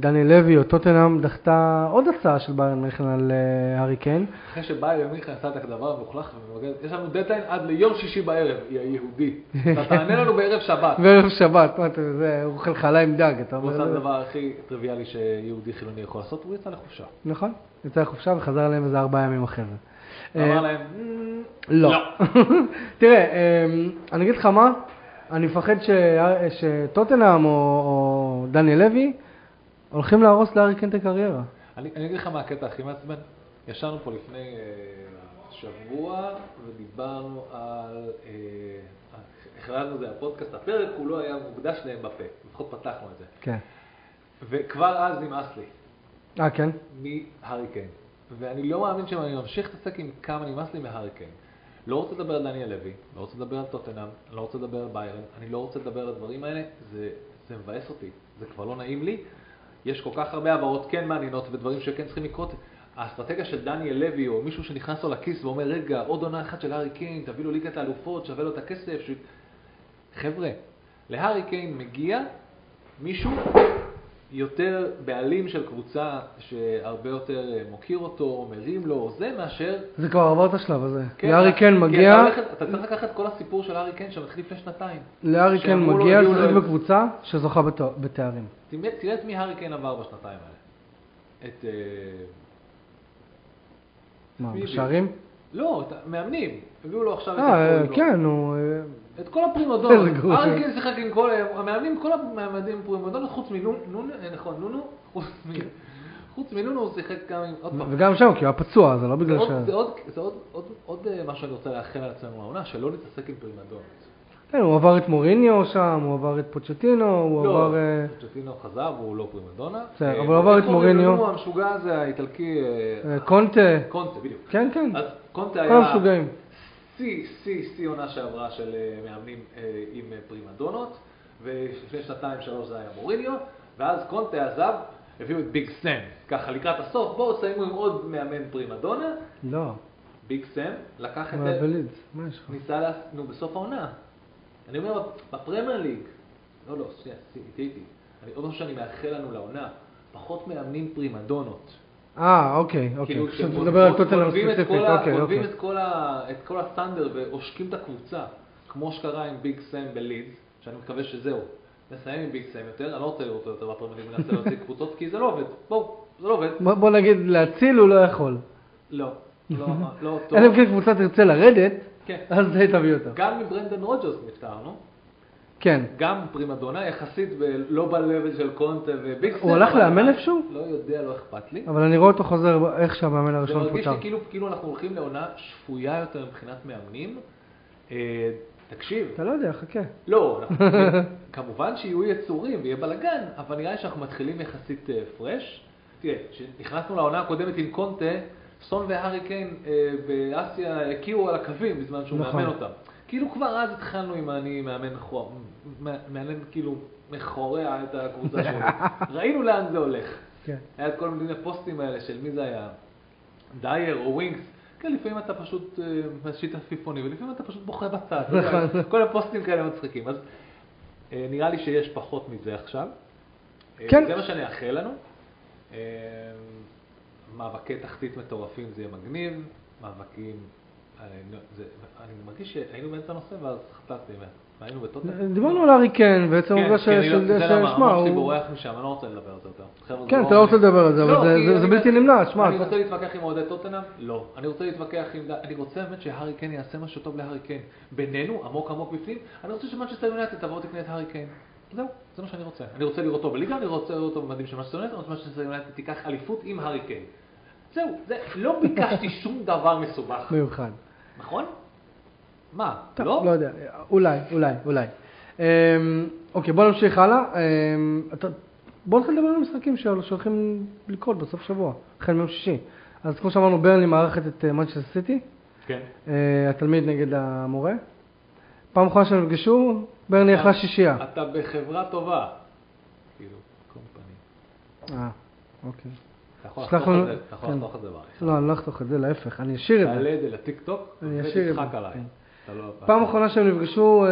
A: דני לוי או טוטנאם דחתה עוד הצעה של ביירן מינכן על אה, הארי קיין.
B: אחרי שבאי מיכה עשה את הכתבה המלוכלכת, ומבקש, יש לנו דדליין עד ליום שישי בערב, יא יהודי. אתה תענה לנו בערב שבת.
A: וערב שבת, מה אתה, זה, הוא אוכל חלה עם דג, אתה
B: הוא
A: אומר. לא-
B: עשה את
A: זה-
B: הדבר הכי טריוויאלי שיהודי חילוני יכול לעשות, הוא יצא לחופשה.
A: נכון, יצא לחופשה וחזר אליהם איזה ארבעה ימים אחרי זה.
B: אמר
A: אה,
B: להם, "מ,
A: לא. תראה, אה, אני אגיד לך מה, אני מפחד ש- שטוטנאם או- או דני לוי הולכים להרוס לארי קיין את הקריירה.
B: אני אני אגיד לך מה הקטע הכי מעצבן. ישבנו פה לפני אה, שבוע ודיברנו על... אה, החלטנו את זה הפודקאסט, הפרק כולו היה מוקדש להם בפה, לפחות פתחנו את זה.
A: כן.
B: וכבר אז נמאס לי
A: אה, כן?
B: מהארי קיין. ואני לא מאמין שאני ממשיך להתעסק עם כמה נמאס לי מהארי קיין. לא רוצה לדבר על דניאל לוי, לא רוצה לדבר על טוטנאם, לא רוצה לדבר על ביירן, אני לא רוצה לדבר על הדברים האלה, זה, זה מבאס אותי, זה כבר לא נעים לי. יש כל כך הרבה העברות כן מעניינות ודברים שכן צריכים לקרות. האסטרטגיה של דניאל לוי או מישהו שנכנס לו לכיס ואומר, רגע, עוד עונה אחת של הארי קיין, תביא לו ליגת האלופות, שווה לו את הכסף. ש... חבר'ה, להארי קיין מגיע מישהו יותר בעלים של קבוצה שהרבה יותר אה, מוקיר אותו, מרים לו, או זה, מאשר...
A: זה כבר עבר את השלב הזה.
B: כן,
A: לארי
B: אתה-
A: קיין
B: כי
A: מגיע,
B: אתה, הולך, אתה צריך לקחת את כל הסיפור של הארי קיין שמתחיל לפני שנתיים.
A: לארי קיין
B: שאמרו לו,
A: מגיע
B: הגיעו
A: לשחק
B: לו-
A: בקבוצה שזוכה בתו- בתארים.
B: תראה תראה את מי הארי קיין עבר בשנתיים האלה. את... אה,
A: מה,
B: בדיוק.
A: בשערים?
B: לא, את המאמנים. הביאו לו עכשיו את...
A: אה,
B: הפרימודון.
A: כן, הוא... אה,
B: את כל הפרימודון.
A: איזה גרוע.
B: הארי קיין שיחק עם כל... המאמנים, כל המאמנים פרימודון, חוץ מנונו, נונו- אה, נכון, נונו? חוץ מ... חוץ מנונו הוא שיחק גם עם... עוד פעם.
A: כן. וגם שם, כי הוא היה פצוע, זה לא
B: זה
A: בגלל
B: עוד-
A: ש...
B: זה עוד- זה עוד- עוד- עוד אה, מה שאני רוצה לאחל על עצמנו העונה, שלא נתעסק עם פרימדון.
A: כן, הוא עבר את מוריניו שם, הוא עבר את פוצ'טינו, הוא עבר... אה,
B: פוצ'טינו לא, חזר והוא לא פרימדונה.
A: בסדר,
B: אה,
A: אבל הוא עבר את
B: איך
A: מוריניו.
B: קוראים לו המשוגע הזה, האיטלקי... אה,
A: אה, קונטה.
B: קונטה, בדיוק.
A: כן, כן.
B: אז קונטה
A: כל
B: היה...
A: המשוגעים.
B: שיא, שיא, שיא עונה שעברה של אה, מאמנים אה, עם אה, פרימדונות, ולפני שנתיים שלוש זה היה מוריניו, ואז קונטה עזב, הביאו את ביג סם. ככה לקראת הסוף, בואו תסיימו עם עוד מאמן פרימדונה,
A: לא,
B: ביג סם, לקח את
A: הוא
B: זה,
A: היה בלידס. מה יש לך?
B: ניסה, לה... נו, בסוף העונה. אני אומר, בפרמייר ליג, לא, לא, שנייה, תהייתי. אני עוד משהו שאני מאחל לנו לעונה, פחות מאמנים פרימדונות.
A: אה, אוקיי, אוקיי.
B: כאילו,
A: עכשיו
B: כשהם
A: אתה מדבר על
B: עוזבים-
A: טוטנאם
B: עוזבים את
A: ספציפית,
B: כל ה-
A: אוקיי,
B: עוזבים
A: אוקיי.
B: את כל ה- את כל הסטנדר ועושקים את הקבוצה, כמו שקרה עם ביג סם בלידס, שאני מקווה שזהו. נסיים עם ביגסיים יותר, אני לא רוצה לראות אותו יותר בפרמייר ליג, מנסה להוציא קבוצות, כי זה לא עובד. בואו, זה לא עובד.
A: בוא בוא נגיד להציל הוא לא יכול.
B: לא, לא, לא טוב.
A: אלא אם כן קבוצה תרצה לרדת,
B: כן.
A: אז זה תביא אותה.
B: גם מברנדן רוג'רס נפטרנו,
A: כן.
B: גם פרימדונה, יחסית ב- לא ב-level של קונטה וביגסיים.
A: הוא הלך
B: אבל-
A: לאמן איפשהו?
B: לא יודע, לא אכפת לי.
A: אבל אני רואה אותו חוזר ב- איך שהמאמן
B: זה
A: הראשון
B: מרגיש לי
A: פוטר.
B: כאילו, כאילו אנחנו הולכים לעונה שפויה יותר מבחינת מאמנים. אה, תקשיב,
A: אתה לא יודע, חכה.
B: לא, אנחנו- כמובן שיהיו יצורים ויהיה בלאגן, אבל נראה לי שאנחנו מתחילים יחסית אה, פרש. תראה, כשנכנסנו לעונה הקודמת עם קונטה, סון והארי קיין אה, באסיה הכירו על הקווים בזמן שהוא
A: נכון.
B: מאמן אותם. כאילו כבר אז התחלנו עם אני מאמן חור, מ- מאמן כאילו מחורע את הקבוצה שלו. ראינו לאן זה הולך.
A: כן.
B: היה את כל מיני פוסטים האלה של מי זה היה, דייר או ווינקס. כן, לפעמים אתה פשוט אה, משית עפיפוני, ולפעמים אתה פשוט בוכה בצד. אתה יודע,
A: נכון.
B: כל הפוסטים כאלה מצחיקים. אז אה, נראה לי שיש פחות מזה עכשיו. אה,
A: כן.
B: זה מה שאני אאחל לנו. אה, מאבקי תחתית מטורפים זה יהיה מגניב. מאבקים... אה, נו, זה- אני מרגיש שהיינו באמצע הנושא ואז חטפתי, מה- היינו בטוטל.
A: דיברנו על הארי קיין, בעצם
B: אוקיי. כן,
A: העובדה ש...
B: כן, אני לא-
A: ש-
B: זה למה,
A: ששמע,
B: המוח שלי
A: הוא-
B: בורח משם, אני לא רוצה לדבר על זה יותר. חבר'ה, זה
A: כן,
B: לא
A: אתה לא רוצה
B: מעניין.
A: לדבר על זה, אבל
B: לא,
A: זה-
B: כי
A: זה- זה
B: אני-
A: בלתי נמנע, שמע,
B: אני
A: אתה-
B: רוצה להתווכח עם אוהדי טוטנאם? לא. אני רוצה להתווכח עם... אני רוצה באמת שהארי קיין יעשה משהו טוב להארי קיין. בינינו, עמוק עמוק בפנים, אני רוצה שמנצ'סטר יונייטד תבוא ותקנה את הארי קיין. זהו, זה מה שאני רוצה. אני רוצה לראות אותו בליגה, אני רוצה לראות אותו במדים של מנצ'סטר יונייטד, אני רוצה שמנצ'סטר יונייטד תיקח אליפות עם הארי קיין. זהו, זה- לא ביקשתי שום דבר מסובך,
A: מיוחד.
B: נכון? מה,
A: טוב,
B: לא?
A: לא יודע, אולי, אולי, אולי. אמ, אוקיי, בוא נמשיך הלאה. אמ, אתה- בוא נתחיל לדבר על המשחקים של- שהולכים לקרות בסוף שבוע, החל מיום שישי. אז כמו שאמרנו, ברנלי מארחת את מנצ'סטר סיטי,
B: כן.
A: אה, התלמיד נגד המורה. פעם אחרונה שהם נפגשו, ברנלי
B: אה.
A: אכלה שישייה.
B: אתה בחברה טובה. כאילו, כל פנים.
A: אה, אוקיי.
B: אתה יכול
A: שלח
B: לחתוך
A: לנו-
B: את זה, אתה יכול
A: כן.
B: לחתוך את זה בעריכה.
A: לא, אני לא אחתוך את זה, להפך, אני אשאיר את
B: תעלה
A: זה.
B: את זה לטיקטוק,
A: אני אשאיר את
B: ותצחק
A: זה,
B: עליי.
A: כן.
B: אתה לא-
A: פעם
B: אתה-
A: אחרונה שהם נפגשו, אה,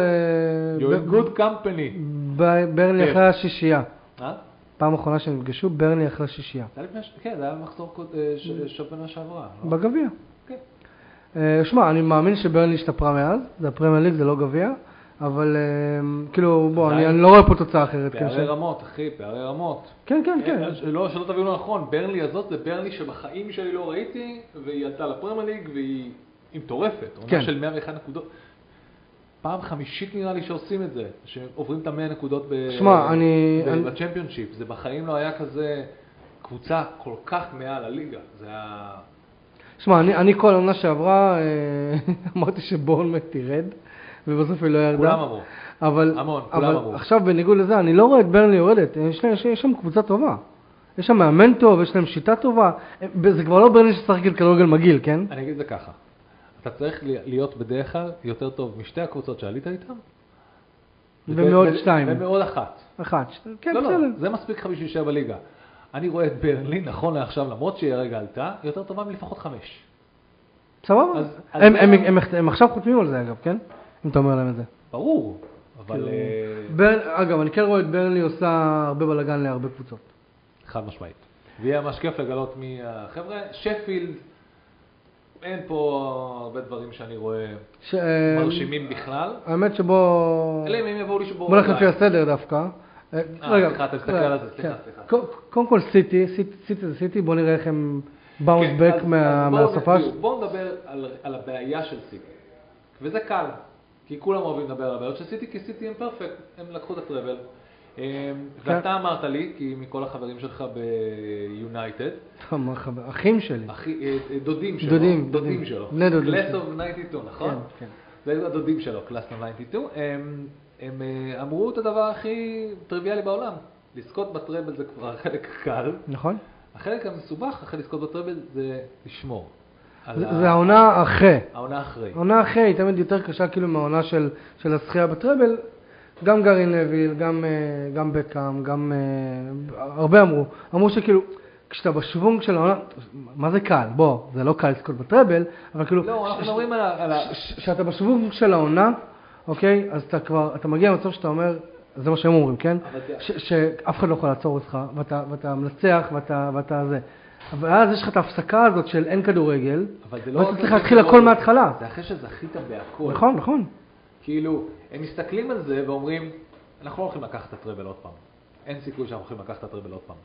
B: You're in
A: ב-
B: good company.
A: ב- ברנלי
B: כן.
A: אכלה שישייה.
B: אה?
A: פעם אחרונה שהם נפגשו, ברנלי אכלה שישייה.
B: זה היה לפני ש... כן, זה היה במחזור קוד... אה, ש- אה, של שנה שעברה. לא?
A: בגביע.
B: כן.
A: אה, שמע, אני מאמין שברני השתפרה מאז, זה הפרמייר ליג, זה לא גביע, אבל אה, כאילו, בוא, אני,
B: עדיין.
A: אני לא רואה פה תוצאה אחרת. כאילו,
B: פערי
A: ש-
B: רמות, אחי, פערי רמות.
A: כן, כן, כן.
B: אה, לא, שלא תבינו לא נכון, ברנלי הזאת זה ברנלי שבחיים שלי לא ראיתי, והיא עלתה לפרמייר ליג והיא היא מטורפת.
A: כן.
B: עונה של 101 נקודות. פעם חמישית נראה לי שעושים את זה, שעוברים את המאה נקודות ב...
A: שמע, אני-
B: ב-
A: אני-
B: בצ'מפיונשיפ. זה בחיים לא היה כזה קבוצה כל כך מעל הליגה. זה היה...
A: שמע, אני, אני כל העונה שעברה אה, אמרתי שבורנמט תרד, ובסוף היא לא ירדה.
B: כולם אמרו.
A: אבל,
B: המון, כולם
A: אבל
B: אמרו.
A: עכשיו בניגוד לזה, אני לא רואה את ברני יורדת, יש, להם- יש, יש שם קבוצה טובה. יש שם מאמן טוב, יש להם שיטה טובה. אה, זה כבר לא ברני ששחק כדורגל מגעיל, כן?
B: אני אגיד את זה ככה. אתה צריך להיות בדרך כלל יותר טוב משתי הקבוצות שעלית איתן.
A: ומעוד
B: ו-
A: שתיים.
B: ומעוד אחת.
A: אחת, שתי, כן,
B: לא,
A: בסדר.
B: לא, זה מספיק לך בשביל שבע ליגה. אני רואה את ברלין, נכון לעכשיו, למרות שהיא הרגע עלתה, יותר טובה מלפחות חמש.
A: סבבה.
B: אז- אז
A: הם-
B: זה
A: הם-
B: ה-
A: הם- הם עכשיו חותמים על זה אגב, כן? אם אתה אומר להם את זה.
B: ברור, אבל
A: כאילו,
B: אה,
A: בר- אגב, אני כן רואה את ברנלי עושה הרבה בלאגן להרבה קבוצות.
B: חד משמעית. ויהיה ממש כיף לגלות מי החבר'ה. שפילד, אין פה הרבה דברים שאני רואה
A: ש- אה,
B: מרשימים בכלל.
A: האמת שבו...
B: אלא אם הם יבואו לשבור
A: בוא נלך לפי
B: רגליים.
A: הסדר דווקא. אה,
B: אה,
A: רגע,
B: סליחה, אתה מסתכל
A: רגע,
B: על זה, סליחה,
A: כן.
B: סליחה.
A: קו- קודם כל סיטי, סיט- סיטי זה סיטי, בוא נראה איך הם באונס
B: כן,
A: בק
B: אז-
A: מה-
B: אז בואו
A: מהשפה.
B: נ- בואו נדבר על, על הבעיה של סיטי. וזה קל, כי כולם אוהבים לדבר על הבעיות של סיטי, כי סיטי הם פרפקט, הם לקחו את הטראבל. אמ,
A: כן.
B: ואתה אמרת לי, כי מכל החברים שלך ביונייטד,
A: אמר חבר- אחים שלי.
B: אחי- אה, אה, דודים שלו,
A: דודים, דודים.
B: דודים שלו,
A: בני דודים
B: Class
A: שלו.
B: of 92,
A: כן,
B: נכון?
A: כן.
B: זה היו הדודים שלו, Class of 92, הם, הם אה, אמרו את הדבר הכי טריוויאלי בעולם, לזכות בטראבל זה כבר חלק קל,
A: נכון?
B: החלק המסובך אחרי לזכות בטראבל זה לשמור. על
A: זה
B: ה-
A: זה העונה אחרי.
B: העונה אחרי.
A: העונה אחרי היא תמיד יותר קשה כאילו מהעונה של, של הזכייה בטראבל. גם גארי נביל, גם, אה, גם בקאם, גם... אה, הרבה אמרו. אמרו שכאילו, כשאתה בשוונג של העונה... מה זה קל? בוא, זה לא קל לזכות בטראבל, אבל כאילו...
B: לא, אנחנו
A: ש-
B: מדברים על ה... על ה-
A: ש- כשאתה בשוונג של העונה, אוקיי? אז אתה כבר... אתה מגיע למצב שאתה אומר... זה מה שהם אומרים, כן?
B: אבל זה-
A: ש- שאף אחד לא יכול לעצור אותך, ואתה, ואתה מנצח, ואתה, ואתה זה. אבל אז יש לך את ההפסקה הזאת של אין כדורגל,
B: אבל זה לא...
A: ואז
B: רק
A: אתה צריך
B: אחרי
A: להתחיל הכל
B: כדורגל.
A: מההתחלה.
B: זה אחרי שזכית בהכל.
A: נכון, נכון.
B: כאילו, הם מסתכלים על זה ואומרים, אנחנו לא הולכים לקחת את הטראבל עוד פעם. אין סיכוי שאנחנו הולכים לקחת את הטראבל עוד פעם.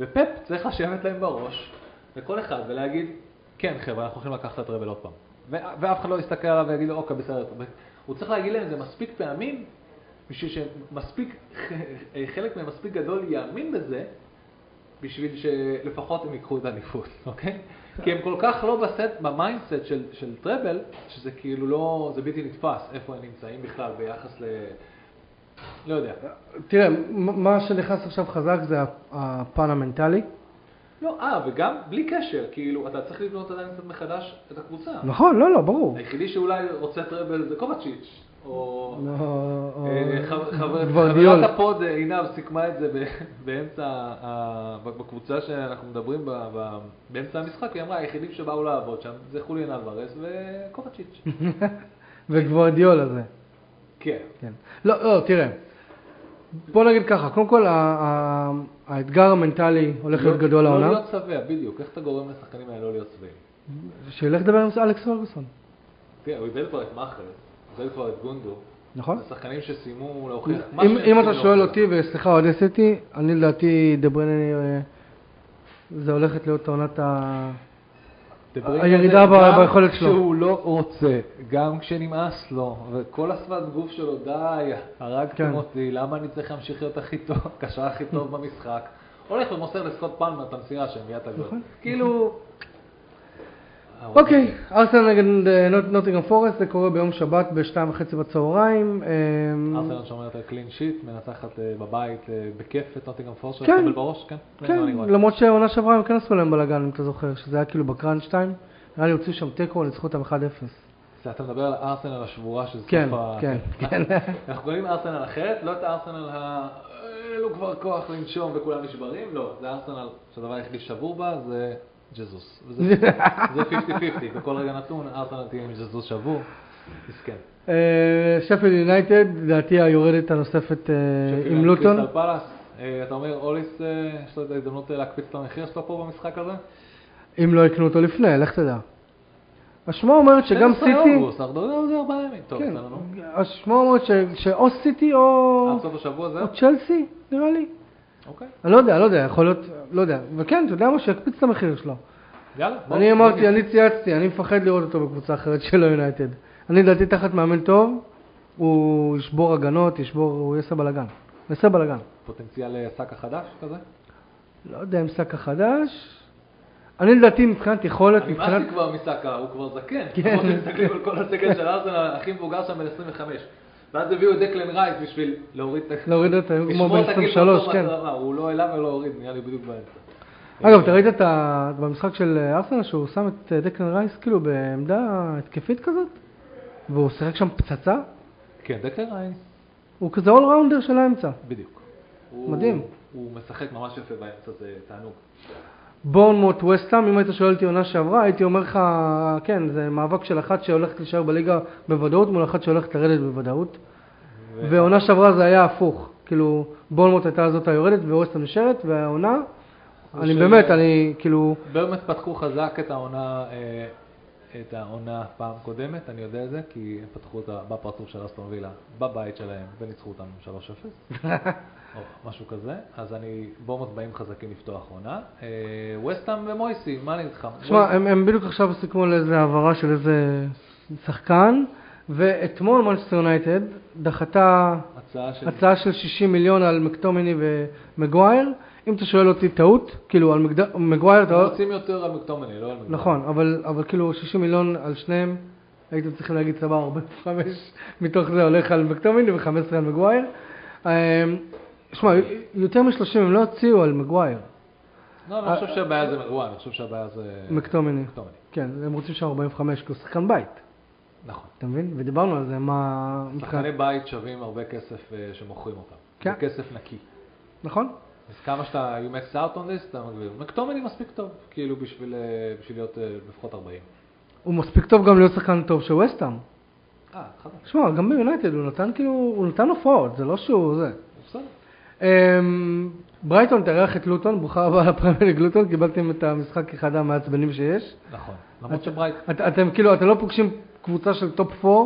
B: ופפ צריך לשבת להם בראש, לכל אחד, ולהגיד, כן חבר'ה, אנחנו הולכים לקחת את הטראבל עוד פעם. ו- ואף אחד לא יסתכל עליו ויגיד לו, אוקיי, בסדר. הוא צריך להגיד להם את זה מספיק פעמים, בשביל שמספיק, חלק מהם מספיק גדול יאמין בזה, בשביל שלפחות הם ייקחו את האליפות, אוקיי? כי הם כל כך לא בסט, במיינדסט של, של טראבל, שזה כאילו לא, זה בלתי נתפס איפה הם נמצאים בכלל ביחס ל... לא יודע.
A: תראה, מ- מה שנכנס עכשיו חזק זה הפ- הפן המנטלי.
B: לא, אה, וגם בלי קשר, כאילו, אתה צריך לבנות עדיין קצת מחדש את הקבוצה.
A: נכון, לא, לא, ברור.
B: היחידי שאולי רוצה טראבל זה קובצ'יץ', או...
A: לא, או-
B: אה, חב- חבר-
A: גוורדיול.
B: חברת הפוד אה, עינב סיכמה את זה ב- באמצע, ה- ב- בקבוצה שאנחנו מדברים בה, ב- באמצע המשחק, היא אמרה, היחידים שבאו לעבוד שם זה חוליאן אלוורס וקובצ'יץ'.
A: וגוורדיול הזה.
B: כן.
A: כן. לא, לא, תראה. בוא נגיד ככה, קודם כל ה- ה- האתגר המנטלי הולך להיות
B: לא-
A: גדול
B: לא
A: העונה.
B: להיות שבע, בדיוק. איך אתה גורם לשחקנים האלה לא להיות שבעים?
A: שילך לדבר עם אלכס פרגוסון,
B: תראה, כן, הוא איבד כבר את מאכרס, הוא איבד כבר את גונדו.
A: נכון?
B: זה שחקנים שסיימו להוכיח אוקיי, מה
A: אם,
B: שהם
A: אם אתה
B: צריכים
A: שואל
B: להוכיח.
A: אותי, וסליחה אוהדי סיטי, אני לדעתי דה בריינה, אה, זה הולכת להיות עונת ה...
B: דברי
A: הירידה
B: על זה,
A: ב-
B: גם
A: ביכולת שלו.
B: כשהוא לא רוצה, גם כשנמאס לו, וכל השפת גוף שלו, די, הרגתם
A: כן.
B: אותי, למה אני צריך להמשיך להיות הכי טוב, הקשר הכי טוב במשחק? הולך ומוסר לסקוט פלמר את המסירה שהם מיד הגול. כאילו...
A: נכון. אוקיי, ארסנל נגד אה, נוט- נוטינגהאם פורסט, זה קורה ביום שבת בשתיים וחצי בצהריים. אה,
B: ארסנל שומרת על קלין שיט, מנצחת אה, בבית אה, בכיף את נוטינגרם פורסט,
A: כן.
B: לקבל בראש, כן?
A: כן,
B: לא, אני רואה.
A: למרות שהעונה שעברה הם כן עשו להם בלאגן, אם אתה זוכר, שזה היה כאילו בקראנץ' 2, נראה לי הוציאו שם תיקו, ניצחו אותם 1-0.
B: זה, אתה מדבר על ארסנל השבורה של
A: כן,
B: סוף ה...
A: כן, כן.
B: אנחנו קוראים ארסנל אחרת, לא את הארסנל ה... אה, אין לו כבר כוח לנשום וכולם נשברים, לא, זה ארסנל שהדבר היחידי ששבור בה זה ג'זוס. וזה- זה 50-50, בכל רגע נתון ארסנל תהיה עם ג'זוס שבור, מסכן.
A: אה, שפילד יונייטד, לדעתי היורדת הנוספת אה, עם לוטון.
B: קריסטל פלאס, אה, אתה אומר, אוליס, אה, יש לו את ההזדמנות אה, להקפיץ את המחיר שלו פה במשחק הזה?
A: אם לא יקנו אותו לפני, לך תדע. השמועה אומרת שגם
B: 12
A: סיטי...
B: אוגוסט, אנחנו מדברים על זה ארבעה ימים. טוב,
A: כן,
B: בסדר, נו. אה,
A: השמועה אומרת ש- שאו סיטי או
B: עד סוף השבוע זהו?
A: או צ'לסי, נראה לי.
B: אוקיי.
A: אני לא יודע, לא יודע, יכול להיות, לא יודע. וכן, אתה יודע מה? שיקפיץ את המחיר שלו.
B: יאללה. בוא.
A: אני אמרתי, אני צייצתי, אני מפחד לראות אותו בקבוצה אחרת שלא יונייטד. אני לדעתי תחת מאמן טוב, הוא ישבור הגנות, ישבור, הוא יעשה בלאגן. הוא יעשה בלאגן.
B: פוטנציאל אה, שק החדש כזה?
A: לא יודע אם שק החדש. אני לדעתי מבחינת יכולת,
B: אני
A: מבחינת...
B: נמאסתי כבר מסאקה, הוא כבר זקן.
A: כן.
B: כן. אנחנו מסתכלים על כל הסגל של ארסנל, הכי מבוגר שם בן 25. ואז הביאו את דקלן רייס בשביל להוריד את... ה-
A: להוריד את היום כמו
B: לשמור
A: בן
B: את הגיל
A: 23,
B: באותו
A: כן.
B: מצב, הוא לא העלה ולא הוריד, נראה לי בדיוק באמצע.
A: אגב, אתה ראית את ה... במשחק של ארסנל שהוא שם את דקלן רייס כאילו בעמדה התקפית כזאת? והוא שיחק שם פצצה?
B: כן, דקלן רייס,
A: הוא כזה אול ראונדר של האמצע.
B: בדיוק.
A: מדהים.
B: הוא משחק ממש יפה באמצע, זה תענוג.
A: בורנמוט וסטאם, אם היית שואל אותי עונה שעברה, הייתי אומר לך, כן, זה מאבק של אחת שהולכת להישאר בליגה בוודאות מול אחת שהולכת לרדת בוודאות.
B: ו-
A: ועונה שעברה זה היה הפוך. כאילו, בורנמוט הייתה זאת היורדת וווסטאם נשארת, והעונה,
B: זה
A: אני
B: של-
A: באמת, אני כאילו,
B: באמת פתחו חזק את העונה, אה, את העונה פעם קודמת, אני יודע את זה, כי הם פתחו אותה בפרצוף של אסטון וילה, בבית שלהם, וניצחו אותם 3-0, או משהו כזה. אז אני, בורמוט באים חזקים לפתוח עונה. אה, וסטאם ומויסי, מה אני איתך?
A: תשמע, הם, הם בדיוק עכשיו סיכמו על איזה העברה של איזה שחקן, ואתמול מנצ'סטר יונייטד דחתה
B: הצעה של...
A: הצעה של 60 מיליון על מקטומני ומגווייר. אם אתה שואל אותי טעות, כאילו על מגד- מגווייר, אתה... לא-
B: הם רוצים יותר על מקטומני, לא על מקטומני.
A: נכון, אבל, אבל כאילו 60 מיליון על שניהם, הייתם צריכים להגיד סבבה, 45 מתוך זה הולך על מקטומיני ו-15 על מגווייר. אמ, שמע, יותר מ-30 הם לא הוציאו על מגווייר,
B: לא, אני לא
A: אה,
B: חושב שהבעיה זה מגוון, אני חושב שהבעיה זה...
A: מקטומיני.
B: מקטומני.
A: כן, הם רוצים שם 45, כי הוא שחקן בית,
B: נכון.
A: אתה מבין? ודיברנו על זה, מה... מבחינת-
B: שחקני בית שווים הרבה כסף אה, שמוכרים אותם.
A: כן.
B: זה כסף נקי.
A: נכון?
B: אז כמה שאתה, you max out on this, אתה מגביר. מקטומני מספיק טוב, כאילו בשביל, אה, בשביל להיות אה, לפחות 40.
A: הוא מספיק טוב גם להיות שחקן טוב של וסטאם.
B: אה, חזק,
A: שמע, גם ביונייטד הוא נתן כאילו, הוא נתן הופעות, זה לא שהוא זה.
B: בסדר.
A: אמ, ברייטון תארח את לוטון, ברוכה הבאה לפרמיינג לוטון, קיבלתם את המשחק אחד המעצבנים שיש.
B: נכון. למרות שברייט,
A: את, אתם כאילו, אתם לא פוגשים קבוצה של טופ 4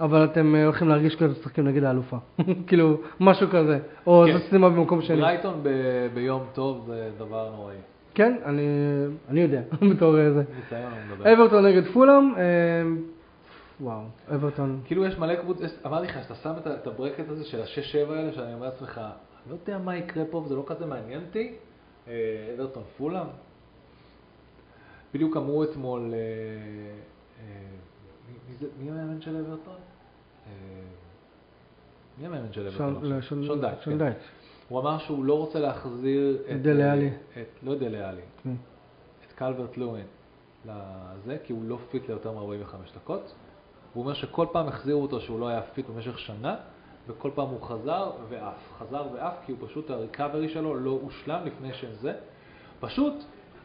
A: אבל אתם אה, הולכים להרגיש כאילו אתם משחקים נגד האלופה. כאילו, משהו כזה. או
B: כן.
A: זו סתימה במקום שני.
B: ברייטון ב- ביום טוב זה דבר נוראי.
A: כן, אני, אני יודע, בתור אה, זה.
B: ניסיון אני מדבר.
A: אברטון נגד פולאם, אה, וואו, אברטון.
B: כאילו יש מלא קבוצות, אמרתי לך, שאתה שם את ה- את הברקט הזה של השש-שבע האלה, שאני אומר לעצמך, אני לא יודע מה יקרה פה, וזה לא כזה מעניין אותי, אה, אברטון פולאם. בדיוק אמרו אתמול, אה, אה, מי- מי זה- מי המאמן של אברטון? אה, מי המאמן של
A: שון-
B: אברטון? עכשיו?
A: לא, שון-
B: שון דייץ',
A: שון
B: כן.
A: דייץ'.
B: הוא אמר שהוא לא רוצה להחזיר את...
A: דלה עלי.
B: את- לא דלה עלי,
A: כן.
B: את קלברט לואין לזה, כי הוא לא פיט ליותר מ-45 דקות. הוא אומר שכל פעם החזירו אותו שהוא לא היה פיט במשך שנה, וכל פעם הוא חזר ועף, חזר ועף, כי הוא פשוט, הריקאברי שלו לא הושלם לפני שזה. פשוט,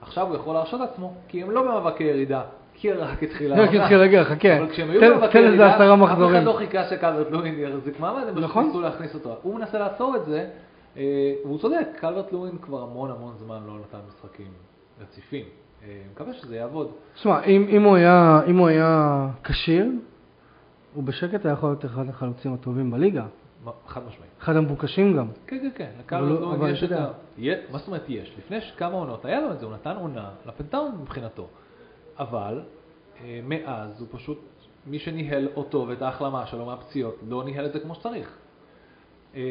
B: עכשיו הוא יכול להרשות עצמו, כי הם לא במאבקי ירידה, כי רק התחילה
A: רק התחיל לא, כן, רגע, חכה.
B: כאילו, אבל כשהם היו
A: תן-
B: במאבקי
A: תן איזה
B: ירידה,
A: עשרה
B: אף אחד
A: מחזורים.
B: לא חיכה שקלברט לואין יחזיק מעמד, הם פשוט
A: נכון.
B: ניסו להכניס אותו. הוא מנסה לעצור את זה, אה, והוא צודק, קלברט לואין כבר המון המון זמן לא נתן משחקים רציפים. אה, מקווה שזה יעבוד.
A: שמע, אם, אם, הוא היה- אם הוא היה כשיר, הוא בשקט היה יכול להיות אחד החלוצים הטובים בליגה.
B: מה- חד משמעית.
A: אחד המבוקשים גם.
B: כן, כן, כן,
A: אבל
B: לקלברט
A: לא- אבל
B: לואין יש את
A: אתה יודע.
B: ה... יה- מה זאת אומרת יש? לפני ש- כמה עונות היה לו את זה, הוא נתן עונה לפנטאון מבחינתו. אבל אה, מאז הוא פשוט, מי שניהל אותו ואת ההחלמה שלו מהפציעות, לא ניהל את זה כמו שצריך. אה,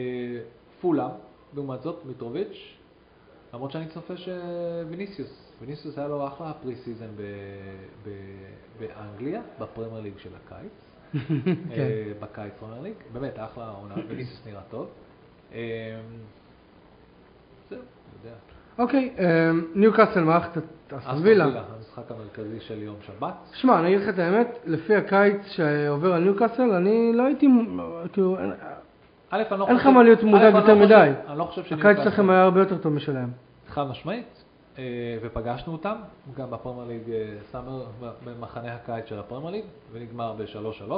B: פולה, לעומת זאת, מיטרוביץ', למרות שאני צופה שוויניסיוס, ויניסיוס היה לו אחלה פרי סיזן ב... ב... באנגליה, בפרמייר ליג של הקיץ.
A: כן.
B: אה, בקיץ פרמייר ליג, באמת אחלה עונה, וניסיוס נראה טוב. אה, זהו, אתה יודע.
A: אוקיי, אה, ניו קאסל מערכת את
B: אסטון
A: הסבילה.
B: המשחק המרכזי של יום שבת.
A: שמע, אני אגיד לך את האמת, לפי הקיץ שעובר על ניו קאסל, אני לא הייתי, מ- כאילו, אין-
B: א', אני לא
A: אין לך
B: חושב-
A: מה להיות מודאג
B: א', אני לא
A: יותר
B: חושב-
A: מדי.
B: אני לא חושב
A: הקיץ
B: שניוקאסל-
A: שלכם היה הרבה יותר טוב משלהם.
B: חד משמעית, אה, ופגשנו אותם, גם בפרמייר ליג אה, סאמר, במחנה הקיץ של הפרמייר ליג, ונגמר ב-3-3.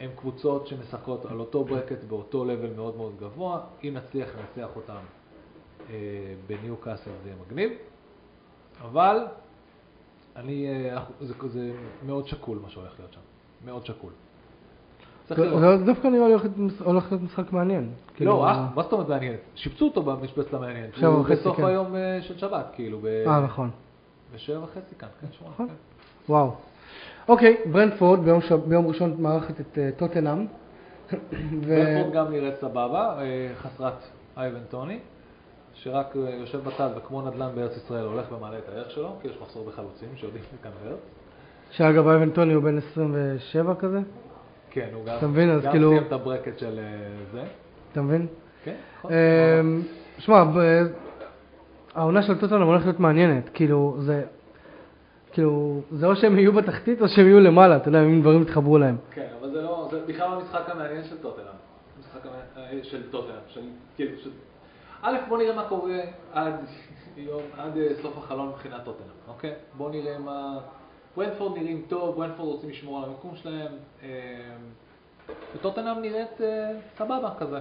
B: הם קבוצות שמשחקות על אותו ברקט באותו לבל מאוד מאוד גבוה, אם נצליח לנצח אותם אה, בניו קאסל זה יהיה מגניב, אבל אני, אה, אנחנו- זה, זה מאוד שקול מה שהולך להיות שם, מאוד שקול. צריך
A: זה
B: לראות.
A: זה דווקא נראה לי הולך להיות- הולך להיות משחק מעניין. לא, כאילו,
B: לא, אח, מה זאת אומרת מעניין? שיפצו אותו במשבצת המעניינת,
A: שבע
B: הוא
A: וחצי,
B: בסוף
A: כן.
B: היום אה, של שבת, כאילו, ב-
A: אה, נכון.
B: בשבע וחצי כאן, כן, שמונה.
A: נכון.
B: כן.
A: וואו. אוקיי, ברנדפורד ביום, ש... ביום ראשון מארחת את uh, טוטנאם. ו...
B: ברנפורד גם נראית סבבה, אה, חסרת אייבן טוני, שרק אה, יושב בצד וכמו נדל"ן בארץ ישראל הולך ומעלה את הערך שלו, כי יש מחסור בחלוצים שיודעים לכאן בארץ.
A: שאגב, אייבן טוני הוא בן 27 כזה,
B: כן, הוא גם
A: אתה מבין? אז
B: גם
A: כאילו-
B: סיים את הברקט של אה, זה.
A: אתה מבין?
B: כן, נכון.
A: אמ, שמע, ב- העונה של טוטנאם הולכת להיות מעניינת. כאילו, זה... כאילו, זה או שהם יהיו בתחתית או שהם יהיו למעלה, אתה יודע, אם דברים יתחברו להם.
B: כן, אבל זה לא, זה בכלל לא המשחק המעניין של טוטנאם. המשחק המעניין של טוטנאם, של כאילו, של... א', בוא נראה מה קורה עד יום, עד אה, סוף החלון מבחינת טוטנאם, אוקיי? בוא נראה מה... ברנפורד נראים טוב, ברנפורד רוצים לשמור על המיקום שלהם, אה, וטוטנאם נראית אה, סבבה כזה.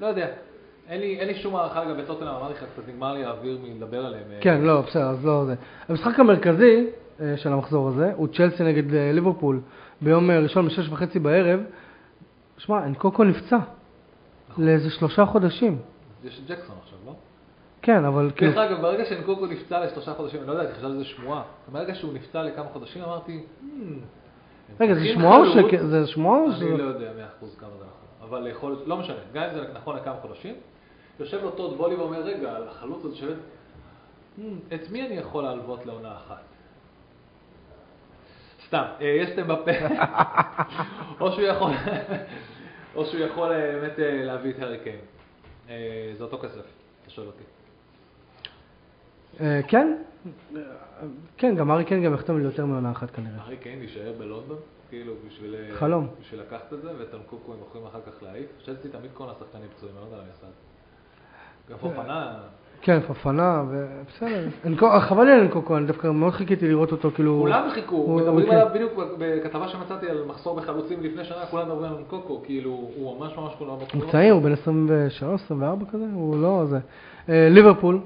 B: לא יודע. אין לי, אין לי שום הערכה לגבי טוטנאם, אמרתי לך, קצת נגמר לי האוויר מלדבר עליהם. אה,
A: כן, לא, בסדר, אז לא זה. המשחק המרכזי אה, של המחזור הזה הוא צ'לסי נגד אה, ליברפול ביום אה, ראשון בשש וחצי בערב. שמע, אנקוקו נפצע לאיזה שלושה חודשים.
B: יש את ג'קסון עכשיו, לא?
A: כן, אבל כאילו...
B: דרך אגב, ברגע שנקוקו נפצע לשלושה חודשים, אני לא יודע, חשבתי שזה שמועה. ברגע שהוא נפצע לכמה חודשים אמרתי, "Hmm,
A: רגע, זה
B: צריכים
A: שמועה או ש...
B: חלוץ."
A: זה שמועה או ש...
B: אני לא יודע מאה אחוז כמה זה נכון, אבל יכול, לא משנה, גם אם זה נכון לכמה חודשים, יושב לו טוד וולי ואומר, רגע, על החלוץ הזה שווה, "Hmm, את מי אני יכול להלוות לעונה אחת? סתם, אה, יש אתם בפה, או שהוא יכול, או שהוא יכול אה, באמת אה, להביא את הארי קיין. אה, זה אותו כסף, אתה שואל אותי.
A: אה, כן? אה, כן, גם ארי קן גם יחתום לי יותר מעונה אחת כנראה.
B: הארי קיין יישאר בלונדון, כאילו בשביל...
A: חלום.
B: בשביל לקחת את זה, ואת הנקוקו הם יכולים אחר כך להעיף. צ'לסי תמיד כל השחקנים פצועים, אני לא יודע למה יסד.
A: אה,
B: גם פופנה,
A: כן, פפנה, ובסדר. אנקו- חבל לי על אנקוקו, אני דווקא מאוד חיכיתי לראות אותו, כאילו...
B: כולם חיכו,
A: הוא- אוקיי.
B: מדברים
A: הוא-
B: עליו בדיוק בכתבה שמצאתי על מחסור בחלוצים לפני שנה, כולם מדברים על נקוקו, כאילו הוא ממש ממש כולם
A: הוא צעיר, הוא בן 23, 24 כזה, הוא לא זה. אה, ליברפול,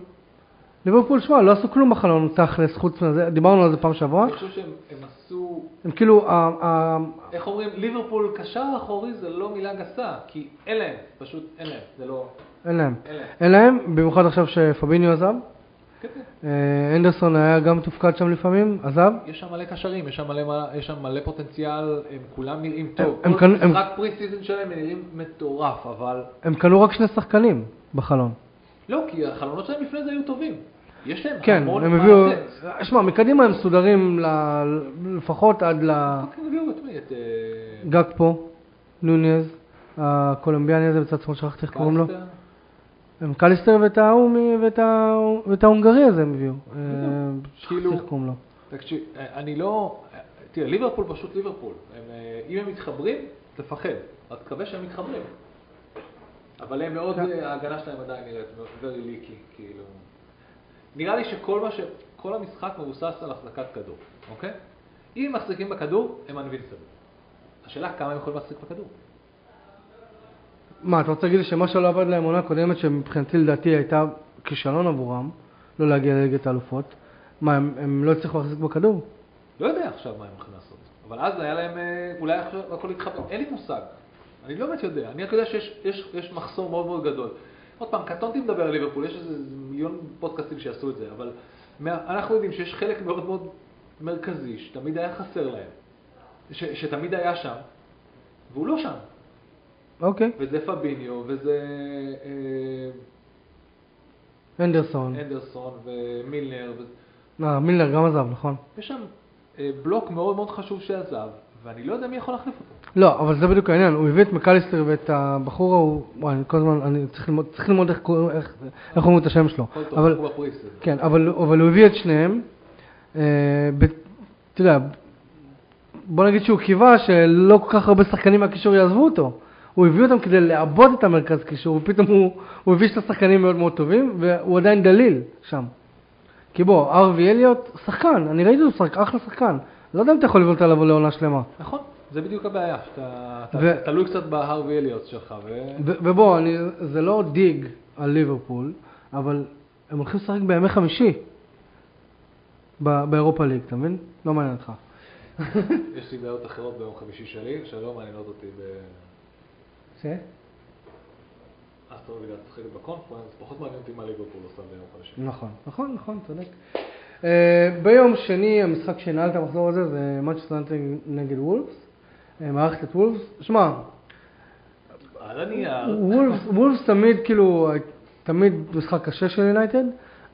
A: ליברפול, שמע, לא עשו כלום בחלון תכלס, חוץ מזה, דיברנו על זה פעם שעברה.
B: אני חושב שהם הם עשו,
A: הם כאילו, ה- ה-
B: איך אומרים, ליברפול קשר אחורי זה לא מילה גסה, כי אין להם, פשוט אין להם, זה לא,
A: אין להם.
B: אין להם.
A: אין להם, במיוחד עכשיו שפביניו עזב.
B: כן, כן.
A: אה, אנדרסון היה גם תופקד שם לפעמים, עזב.
B: יש שם מלא קשרים, יש שם מלא, מה- יש שם מלא פוטנציאל, הם כולם נראים טוב.
A: הם
B: כל
A: כאן- הם-
B: משחק פרי סיזן שלהם הם נראים מטורף, אבל
A: הם קנו רק שני שחקנים בחלון.
B: לא, כי החלונות שלהם לפני זה היו טובים. יש להם
A: כן,
B: המון
A: הם
B: מה
A: הביאו...
B: לתת.
A: שמע, מקדימה הם מסודרים ל- לפחות עד ל...
B: פאקינג הביאו את מי? את... אה,
A: גג פה, נוניז, הקולומביאני הזה בצד שמאל, שכחתי איך קוראים לו.
B: קלסטר?
A: הם קליסטר ואת ההוא מ- ואת ה- ואת ההונגרי הזה הם הביאו. אה,
B: כאילו-
A: שכחתי איך קוראים לו.
B: תקשיב, אה, אני לא... אה, תראה, ליברפול פשוט ליברפול. הם, אה, אם הם מתחברים, תפחד. רק תקווה שהם מתחברים. אבל הם מאוד,
A: כן.
B: אה, ההגנה שלהם עדיין נראית very leaky, כאילו. נראה לי שכל מה ש... כל המשחק מבוסס על החזקת כדור, אוקיי? אם הם מחזיקים בכדור, הם אנבינסיבל. השאלה כמה הם יכולים להחזיק בכדור.
A: מה, אתה רוצה להגיד לי שמה שלא עבד להם עונה קודמת, שמבחינתי לדעתי הייתה כישלון עבורם, לא להגיע לליגת האלופות, מה, הם, הם לא הצליחו להחזיק בכדור?
B: לא יודע עכשיו מה הם הולכים לעשות, אבל אז היה להם, אה, אולי עכשיו הכל התחבר, אין לי מושג. אני לא באמת יודע, אני רק יודע שיש יש, יש מחסור מאוד מאוד גדול. עוד פעם, קטונתי מדבר על ליברפול, יש איזה מיליון פודקאסטים שיעשו את זה, אבל מה, אנחנו יודעים שיש חלק מאוד מאוד מרכזי שתמיד היה חסר להם, ש, שתמיד היה שם, והוא לא שם.
A: אוקיי,
B: וזה פביניו, וזה אה,
A: אנדרסון.
B: אנדרסון, ומילנר, וזה...
A: אה, מילנר גם עזב, נכון.
B: יש שם אה, בלוק מאוד מאוד חשוב שעזב, ואני לא יודע מי יכול להחליף אותו.
A: לא, אבל זה בדיוק העניין, הוא הביא את מקליסטר ואת הבחור ההוא, וואי, אני כל הזמן, אני צריך ללמוד, צריך ללמוד איך קוראים- איך איך אומרים את השם שלו.
B: הכל טוב,
A: אבל,
B: הוא בפריסט.
A: כן, אבל, אבל הוא הביא את שניהם, אה, ב, אתה יודע, בוא נגיד שהוא קיווה שלא כל כך הרבה שחקנים מהקישור יעזבו אותו. הוא הביא אותם כדי לעבוד את המרכז קישור, ופתאום הוא, הוא הביא שני שחקנים מאוד מאוד טובים, והוא עדיין דליל שם. כי בוא, ארווי אליוט, שחקן, אני ראיתי אותו שחק, אחלה שחקן. לא יודע אם אתה יכול לבנות עליו לעונה שלמה.
B: נכון, זה בדיוק הבעיה, שאתה אתה-
A: ו-
B: תלוי קצת בהרווי אליוט שלך, ו-
A: ו- ובוא, אני, זה לא דיג על ליברפול, אבל הם הולכים לשחק בימי חמישי ב- באירופה ליג, אתה מבין? לא מעניין אותך.
B: יש לי בעיות אחרות ביום חמישי שלי, שלא מעניינות אותי ב... לא
A: ש?
B: אסטרולוגיה תשחק בקונפרנס, פחות מעניין אותי מה ליברפול עושה ביום חמישי.
A: נכון, נכון, נכון, צודק. אה, ביום שני המשחק שנעל את המחזור הזה זה מנצ'סטר נגד וולפס, אה, מערכת את וולפס. שמע,
B: על הנייר,
A: וולפס, וולפס תמיד כאילו, תמיד משחק קשה של יונייטד,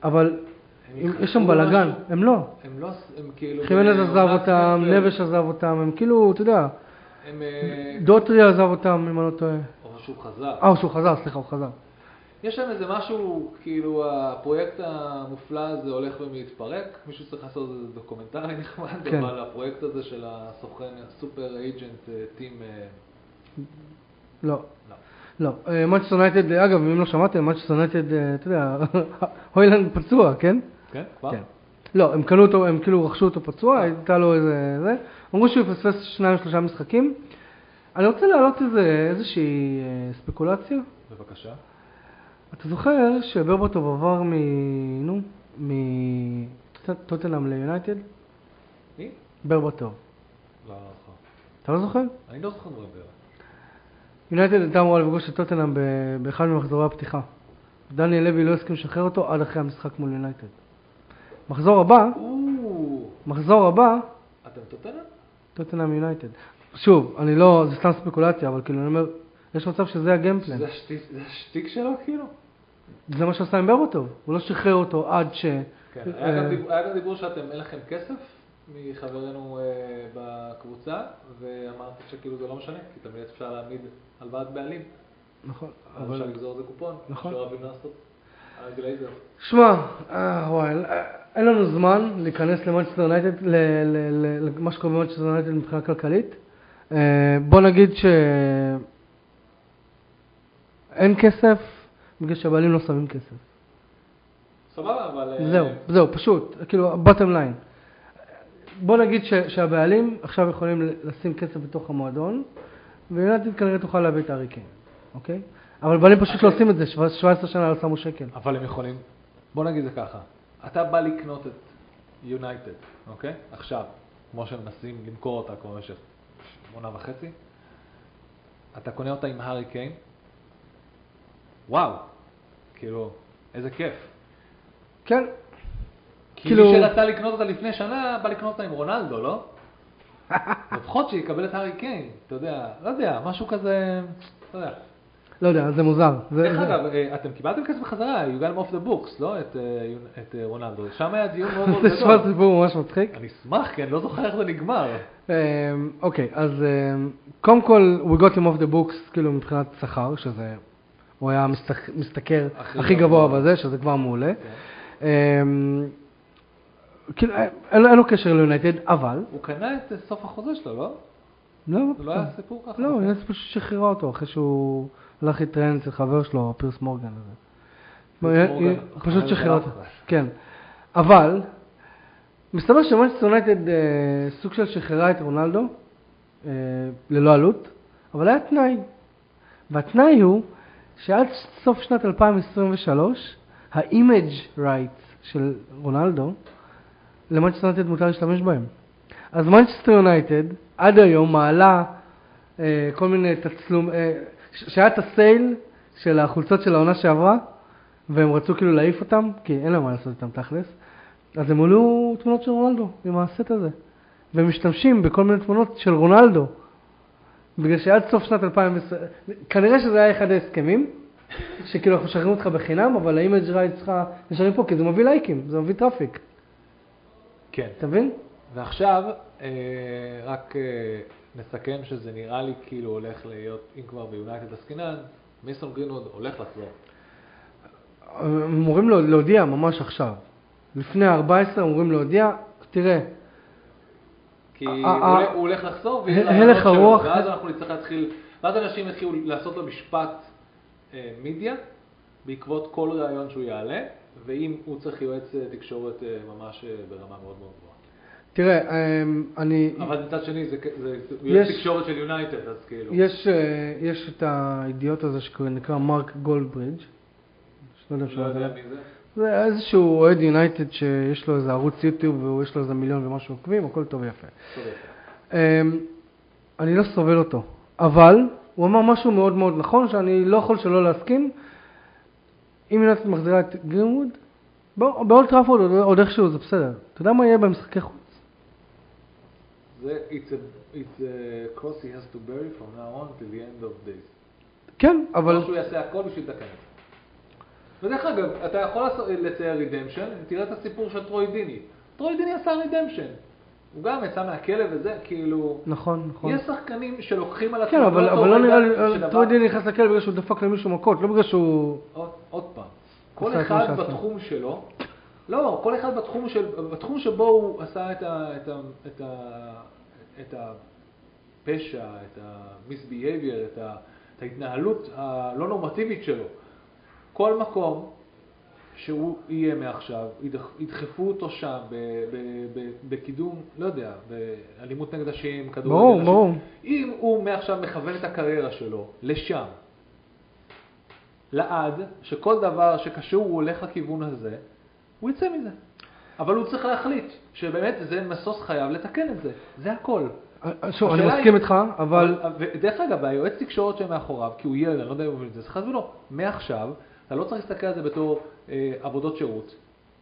A: אבל
B: הם
A: אם- יש
B: יחטפו
A: שם בלאגן,
B: משהו.
A: הם לא.
B: הם לא, עש- הם כאילו...
A: חימנז
B: הם
A: עזב
B: עונת
A: אותם,
B: ספר.
A: נבש עזב אותם, הם כאילו, אתה יודע,
B: הם... אה,
A: דוטרי עזב אותם, אם אני לא טועה.
B: אבל שהוא חזר.
A: אה, שהוא חזר, סליחה, הוא חזר.
B: יש להם איזה משהו, כאילו הפרויקט המופלא הזה הולך ומתפרק, מישהו צריך לעשות איזה דוקומנטרי נחמד,
A: כן.
B: אבל הפרויקט הזה של הסוכן, הסופר אייג'נט אה, טים, אה,
A: לא.
B: לא.
A: לא. מנצ'סטר יונייטד, אגב, אם לא שמעתם, מנצ'סטר יונייטד, אה, אתה יודע, הוילנד פצוע, כן?
B: כן? כבר?
A: כן. לא, הם קנו אותו, הם כאילו רכשו אותו פצוע, הייתה לו איזה... זה. אמרו שהוא יפספס שניים שלושה משחקים. אני רוצה להעלות איזה, איזושהי אה, ספקולציה.
B: בבקשה.
A: אתה זוכר שברבוטוב עבר מ... נו, מטוטנאם ליונייטד?
B: מי?
A: ברבוטוב.
B: לא, לא זוכר.
A: אתה לא זוכר?
B: אני לא זוכר דברים כאלה.
A: אה. יונייטד הייתה אמורה לפגוש את טוטנאם ב- באחד ממחזורי הפתיחה. דניאל לוי לא הסכים לשחרר אותו עד אחרי המשחק מול יונייטד. מחזור הבא,
B: או,
A: מחזור הבא,
B: אתם טוטנה?
A: טוטנאם יונייטד. שוב, אני לא, זה סתם ספקולציה, אבל כאילו אני אומר, יש מצב שזה הגיימפלן.
B: זה השטיק- זה השטיק שלו כאילו?
A: זה מה שעשה עם ברבוטוב, הוא לא שחרר אותו עד ש...
B: כן. היה גם
A: אה,
B: דיבור- היה גם דיבור שאתם, אין לכם כסף מחברנו אה, בקבוצה, ואמרתי שכאילו זה לא משנה, כי תמיד אפשר להעמיד הלוואת בעלים.
A: נכון,
B: אז אפשר
A: אבל...
B: לגזור איזה קופון,
A: נכון.
B: שלא אוהבים לעשות. על גלייזר.
A: שמע, אה, וואי, אה, אין לנו זמן להיכנס למנצ'סטר יונייטד, ל- ל- ל- למה שקורה במנצ'סטר יונייטד מבחינה כלכלית. אה, בוא נגיד ש... אין כסף, בגלל שהבעלים לא שמים כסף.
B: סבבה, אבל... אה,
A: זהו, זהו, פשוט, כאילו, בוטם ליין. בוא נגיד ש, שהבעלים עכשיו יכולים לשים כסף בתוך המועדון, ויונייטד כנראה תוכל להביא את הארי קיין,
B: אוקיי.
A: אוקיי? אבל הבעלים פשוט לא עושים את זה, 17 שנה לא שמו שקל.
B: אבל הם יכולים, בוא נגיד זה ככה, אתה בא לקנות את יונייטד, אוקיי? עכשיו, כמו שמנסים למכור אותה כבר במשך שמונה וחצי, אתה קונה אותה עם הארי קיין, וואו, כאילו, איזה כיף.
A: כן,
B: כי
A: כאילו-
B: מי שרצה לקנות אותה לפני שנה, בא לקנות אותה עם רונלדו, לא? לפחות שיקבל את הארי קיין, אתה יודע, לא יודע, משהו כזה, לא יודע.
A: לא יודע, זה מוזר. זה-
B: דרך
A: זה-
B: אגב, אה, אתם קיבלתם כסף בחזרה, you got him off the books, לא? את, אה, יונ- את אה, רונלדו. שם היה דיון מאוד מאוד
A: זה נשמע
B: גדול.
A: סיפור ממש מצחיק.
B: אני אשמח, כי אני לא זוכר איך זה נגמר.
A: אמ, אוקיי, אז אמ, קודם כל, we got him off the books, כאילו מבחינת שכר, שזה, הוא היה המשתכ- משתכר
B: הכי
A: הכי
B: גבוה.
A: גבוה בזה, שזה כבר מעולה. אמ, כאילו, אה, אין לו- אין לו קשר ליונייטד, אבל,
B: הוא קנה את אה, סוף החוזה שלו, לא?
A: לא,
B: זה לא היה סיפור ככה?
A: לא, יונייטד פשוט שחררה אותו, אחרי שהוא הלך להתראיין אצל חבר שלו, פירס מורגן וזה.
B: פירס מורגן,
A: היא-
B: חבר
A: אה, פשוט
B: של
A: שחררה אותו,
B: אף אחד.
A: כן. אבל, מסתבר שמונצ'סטר יונייטד אה, סוג של שחררה את רונלדו, אה, ללא עלות, אבל היה תנאי. והתנאי הוא שעד סוף שנת 2023, האימג' רייט של רונלדו, למנצ'סטר יונייטד מותר להשתמש בהם. אז מנצ'סטר יונייטד עד היום מעלה אה, כל מיני תצלום, אה, ש- שהיה את הסייל של החולצות של העונה שעברה, והם רצו כאילו להעיף אותם, כי אין להם מה לעשות איתם תכלס, אז הם העלו תמונות של רונלדו עם הסט הזה, והם משתמשים בכל מיני תמונות של רונלדו, בגלל שעד סוף שנת 2010, כנראה שזה היה אחד ההסכמים, שכאילו אנחנו משחררים אותך בחינם, אבל האימג' רייט שלך נשארים פה, כי זה מביא לייקים, זה מביא טראפיק,
B: כן.
A: אתה מבין?
B: ועכשיו, אה, רק אה, נסכם שזה נראה לי כאילו הולך להיות, אם כבר ביונייטד עסקינן, מיסון גרינווד הולך לחזור.
A: הם אמורים לה- להודיע ממש עכשיו. לפני ה-14 אמורים להודיע, תראה,
B: כי
A: אה,
B: הוא
A: אה,
B: הולך- הוא הולך לחזור, ויהיה
A: הלך
B: רעיונות שלו,
A: הרוח-
B: ואז אנחנו נצטרך להתחיל, ואז אנשים יתחילו לעשות לו משפט אה, מידיה, בעקבות כל רעיון שהוא יעלה, ואם הוא צריך יועץ אה, תקשורת אה, ממש אה, ברמה מאוד מאוד גבוהה.
A: תראה, אמ, אני,
B: אבל מצד שני, זה כ- זה יועץ
A: יש-
B: תקשורת של יונייטד, אז כאילו.
A: יש, אה, יש את האידיוט הזה שנקרא מרק גולדברידג', שלא יודע
B: לא
A: שלא
B: יודע
A: יודע.
B: מי זה.
A: זה איזשהו אוהד יונייטד שיש לו איזה ערוץ יוטיוב ויש לו איזה מיליון ומשהו עוקבים, הכל טוב ויפה.
B: צודק.
A: אמ, אני לא סובל אותו, אבל הוא אמר משהו מאוד מאוד נכון שאני לא יכול שלא להסכים. אם יונייטד מחזירה את גרינווד, בוא- באולט טראפורד עוד- עוד איכשהו זה בסדר. אתה יודע מה יהיה במשחקי חוץ?
B: זה, it's a, it's a cross he has to bury from now on till the end of days.
A: כן, אבל...
B: אבל... שהוא יעשה הכל בשביל לתקן את זה. ודרך אגב, אתה יכול לעשות- לצייר רידמפשן, תראה את הסיפור של טרוי דיני. טרוי דיני עשה רידמפשן. הוא גם יצא מהכלא וזה, כאילו...
A: נכון, נכון.
B: יש שחקנים שלוקחים על
A: כן, אבל
B: באותו
A: אבל לא
B: רגע
A: נראה לי,
B: שדבר-
A: טרוידין נכנס לכלא בגלל שהוא דפק למישהו מכות, לא בגלל שהוא...
B: עוד- עוד פעם, כל
A: עשה את מה
B: אחד
A: שעשה.
B: בתחום שלו, לא, כל אחד בתחום, של, בתחום שבו הוא עשה את, ה, את, ה, את, ה, את הפשע, את ה-misbehavior, את, ה, את ההתנהלות הלא נורמטיבית שלו. כל מקום שהוא יהיה מעכשיו, ידח- ידחפו אותו שם ב, ב, ב, בקידום, לא יודע, באלימות נגד נשים, כדורגל
A: ברור,
B: נשים.
A: ברור.
B: אם הוא מעכשיו מכוון את הקריירה שלו לשם, לעד, שכל דבר שקשור הוא הולך לכיוון הזה, הוא יצא מזה. אבל הוא צריך להחליט שבאמת זה משוש חייו לתקן את זה, זה הכל.
A: אה, שוב, אני
B: השאלה היא-
A: מסכים איתך, אבל...
B: ו- דרך אגב, היועץ תקשורת שמאחוריו, כי הוא ילד, אני לא יודע אם הוא מבין את זה, צריך להסביר לו, מעכשיו, אתה לא צריך להסתכל על זה בתור אה, עבודות שירות,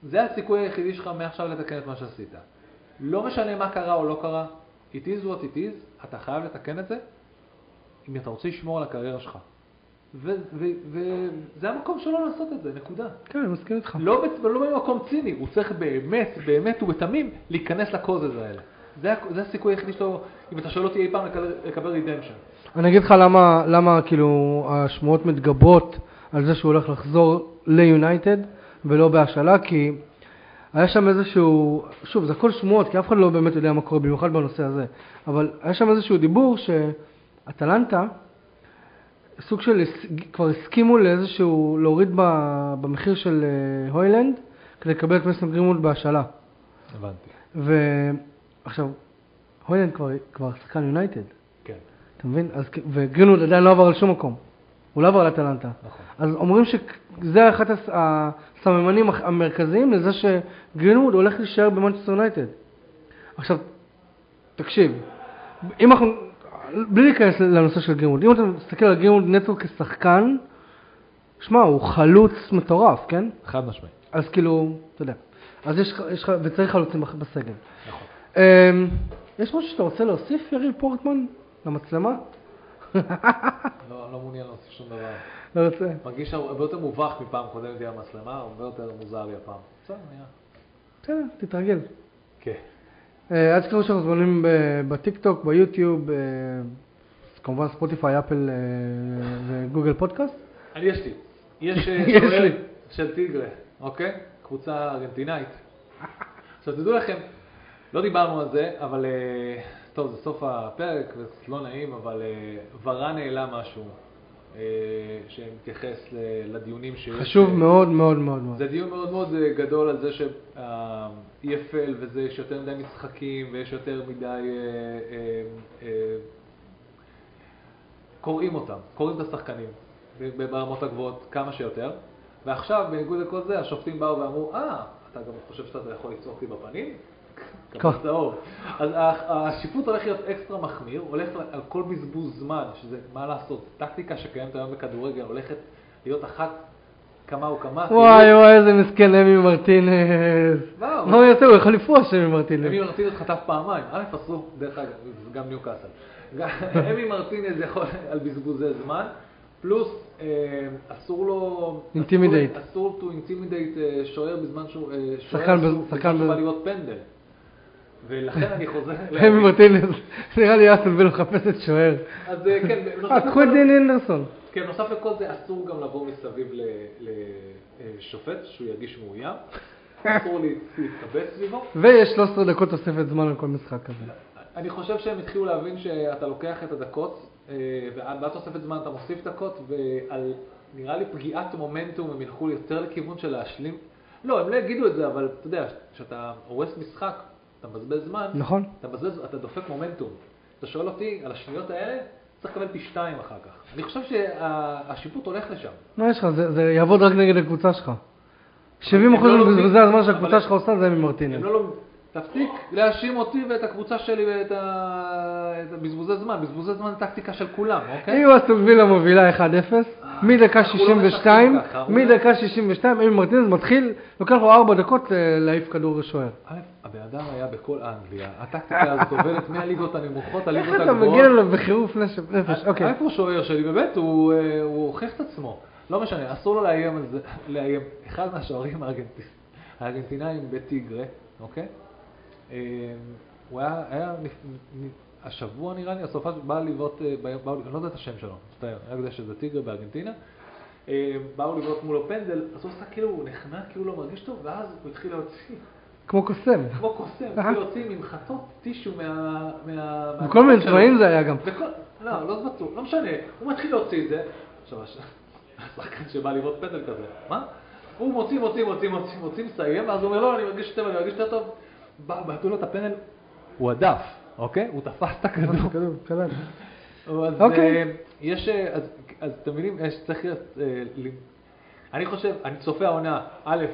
B: זה הסיכוי היחידי שלך מעכשיו לתקן את מה שעשית. לא משנה מה קרה או לא קרה, it is what it is, אתה חייב לתקן את זה, אם אתה רוצה לשמור על הקריירה שלך. וזה ו- ו- זה המקום שלו לעשות את זה, נקודה.
A: כן, אני מסכים איתך.
B: לא, בצ- לא במקום ציני, הוא צריך באמת, באמת ובתמים להיכנס לקוזז האלה. זה, הכ- זה הסיכוי היחידי שלו, אם אתה שואל אותי אי פעם לקבל- לקבל רידמפשן.
A: אני אגיד לך למה, למה כאילו השמועות מתגברות על זה שהוא הולך לחזור ליונייטד ולא בהשאלה, כי היה שם איזשהו, שוב, זה הכל שמועות, כי אף אחד לא באמת יודע מה קורה, במיוחד בנושא הזה, אבל היה שם איזשהו דיבור שאטלנטה, סוג של, הס- כבר הסכימו לאיזשהו, להוריד ב- במחיר של אה, הוילנד, כדי לקבל את מסן גרימולד בהשאלה.
B: הבנתי.
A: ועכשיו, הוילנד כבר, כבר שחקן יונייטד.
B: כן,
A: אתה מבין? אז, כ- וגרינווד עדיין לא עבר על שום מקום. הוא לא עבר לאטלנטה.
B: נכון.
A: אז אומרים שזה אחד הס- הסממנים הח- המרכזיים לזה שגרינווד הולך להישאר במנצ'סטר יונייטד. עכשיו, תקשיב, אם אנחנו, בלי להיכנס לנושא של גרינווד, אם אתה מסתכל על גרינווד נטו כשחקן, שמע, הוא חלוץ מטורף, כן?
B: חד משמעית.
A: אז כאילו, אתה יודע. אז יש לך, יש לך- וצריך חלוצים בח- בסגל.
B: נכון.
A: אמ, יש משהו שאתה רוצה להוסיף, יריב פורטמן, למצלמה?
B: לא לא מעוניין להוסיף שום דבר.
A: לא רוצה.
B: מרגיש הרבה יותר מובך מפעם קודמת עם המצלמה, הרבה יותר מוזר לי הפעם. בסדר, נראה.
A: בסדר, תתרגל.
B: כן.
A: אה, אל תשכחו שאנחנו זמנים ב- בטיקטוק, ביוטיוב, אה, כמובן ספוטיפיי, אפל אה, וגוגל פודקאסט.
B: אני יש לי. יש אה,
A: יש
B: שוער
A: לי.
B: של טיגרה, אוקיי? קבוצה ארגנטינאית. עכשיו תדעו לכם, לא דיברנו על זה, אבל אה, טוב, זה סוף הפרק, וזה לא נעים, אבל אה, ורן העלה משהו אה, שמתייחס ל- לדיונים שיש.
A: חשוב
B: אה,
A: מאוד מאוד מאוד מאוד.
B: זה דיון מאוד מאוד אה, גדול על זה אה, שה-EFL וזה, יש יותר מדי משחקים ויש יותר מדי... אה, אה, אה, קוראים אותם, קוראים את השחקנים ב- ברמות הגבוהות כמה שיותר. ועכשיו, בניגוד לכל זה, השופטים באו ואמרו, אה, אתה גם חושב שאתה יכול לצעוק לי בפנים?
A: כן.
B: קבל צהוב. אז ה- השיפוט הולך להיות אקסטרה מחמיר, הולך על כל בזבוז זמן, שזה, מה לעשות, טקטיקה שקיימת היום בכדורגל הולכת להיות אחת כמה וכמה.
A: וואי וואי, איזה מסכן אמי מרטינז.
B: וואו.
A: מה הוא יעשה? הוא יכול לפרוש אמי
B: אמי
A: מרטינז.
B: מרטינז חטף פעמיים, א' אסור, דרך אגב, זה גם ניו קאסל. אמי מרטינז יכול על בזבוזי זמן, פלוס אה, אסור לו...
A: Intimidate.
B: אסור to intimidate אה, שוער בזמן שהוא... אה, שוער
A: שחקן
B: אסור
A: בז-
B: בזמן
A: שחקן
B: שבא
A: בז-
B: להיות פנדל. ולכן אני חוזר...
A: אמי מרטינז, נראה לי אסון וילן מחפשת שוער.
B: אז אה, כן, בנוסף
A: אה, קחו את
B: לכל-
A: דין אנדרסון.
B: כן, נוסף לכל זה, אסור גם לבוא מסביב לשופט, שהוא ירגיש מאוים. אסור לה- להתקבץ סביבו.
A: ויש 13 דקות תוספת זמן על כל משחק כזה.
B: אני חושב שהם התחילו להבין שאתה לוקח את הדקות, אה, ועד ועד תוספת זמן אתה מוסיף דקות, ועל נראה לי פגיעת מומנטום הם ילכו יותר לכיוון של להשלים. לא, הם לא יגידו את זה, אבל אתה יודע, כשאתה הורס משחק, אתה מבזבז זמן,
A: נכון?
B: אתה, מבזבז, אתה דופק מומנטום. אתה שואל אותי על השניות האלה, צריך לקבל פי שתיים אחר כך. אני חושב שהשיפוט הולך לשם.
A: מה לא, יש לך? זה זה יעבוד רק נגד הקבוצה שלך. 70%
B: הם לא לומדים.
A: מבזבזי הזמן שהקבוצה
B: אבל-
A: שלך עושה זה אמי מרטינז.
B: הם לא לומדים. תפסיק להאשים אותי ואת הקבוצה שלי ואת ה... את הבזבוזי זמן. בזבוזי זמן זה טקטיקה של כולם, אוקיי?
A: אם אסטון וילה מובילה 1-0, אה, מדקה
B: אנחנו לא
A: 62,
B: משחקים ככה, אולי.
A: מדקה 62, אמי מרטינז מתחיל, לוקח לו 4 דקות אה, להעיף כדור לשוער.
B: א', הבן אדם היה בכל אנגליה, הטקטיקה הזאת עוברת מהליגות
A: איך
B: הנמוכות, הליגות
A: אתה
B: הגבוהות.
A: מגיע אליו בחירוף נש- נפש? אוקיי.
B: איפה שוער שלי? באמת, הוא אה, הוא הוכיח את עצמו. לא משנה, אסור לו לאיים על זה, לאיים. אחד מהשוערים הארגנטי- הארגנטינאים בטיגרה, אוקיי? אה, הוא היה, היה נפ- נ- השבוע נראה לי, הסופה בא לבעוט, אה, ב- באו- אני לא יודע את השם שלו, מצטער, רק יודע שזה טיגרה בארגנטינה. אה, באו לבעוט מולו פנדל, אז הוא עשה כאילו, הוא נחנק, כאילו לא מרגיש טוב, ואז הוא התחיל להוציא.
A: כמו קוסם.
B: כמו קוסם,
A: אה.
B: כאילו יוצאים עם חטות טישו מה... מה...
A: בכל מיני
B: שלו.
A: צבעים זה היה גם.
B: בכל- לא, לא בטוח, לא משנה, הוא מתחיל להוציא את זה. עכשיו, הש- השחקן שבא לראות פנדל כזה, מה? הוא מוציא, מוציא, מוציא, מוציא, מוציא, מסיים, ואז הוא אומר, לא, אני מרגיש יותר, אני מרגיש יותר טוב. בא- בעטו לו את הפנדל, הוא הדף, אוקיי? הוא תפס את הכדור.
A: כדור, קלט.
B: אז
A: אוקיי.
B: אה, יש, אה, אז- אז אתם מבינים, יש- צריך להיות, אה, ל- אני חושב, אני צופה העונה, א',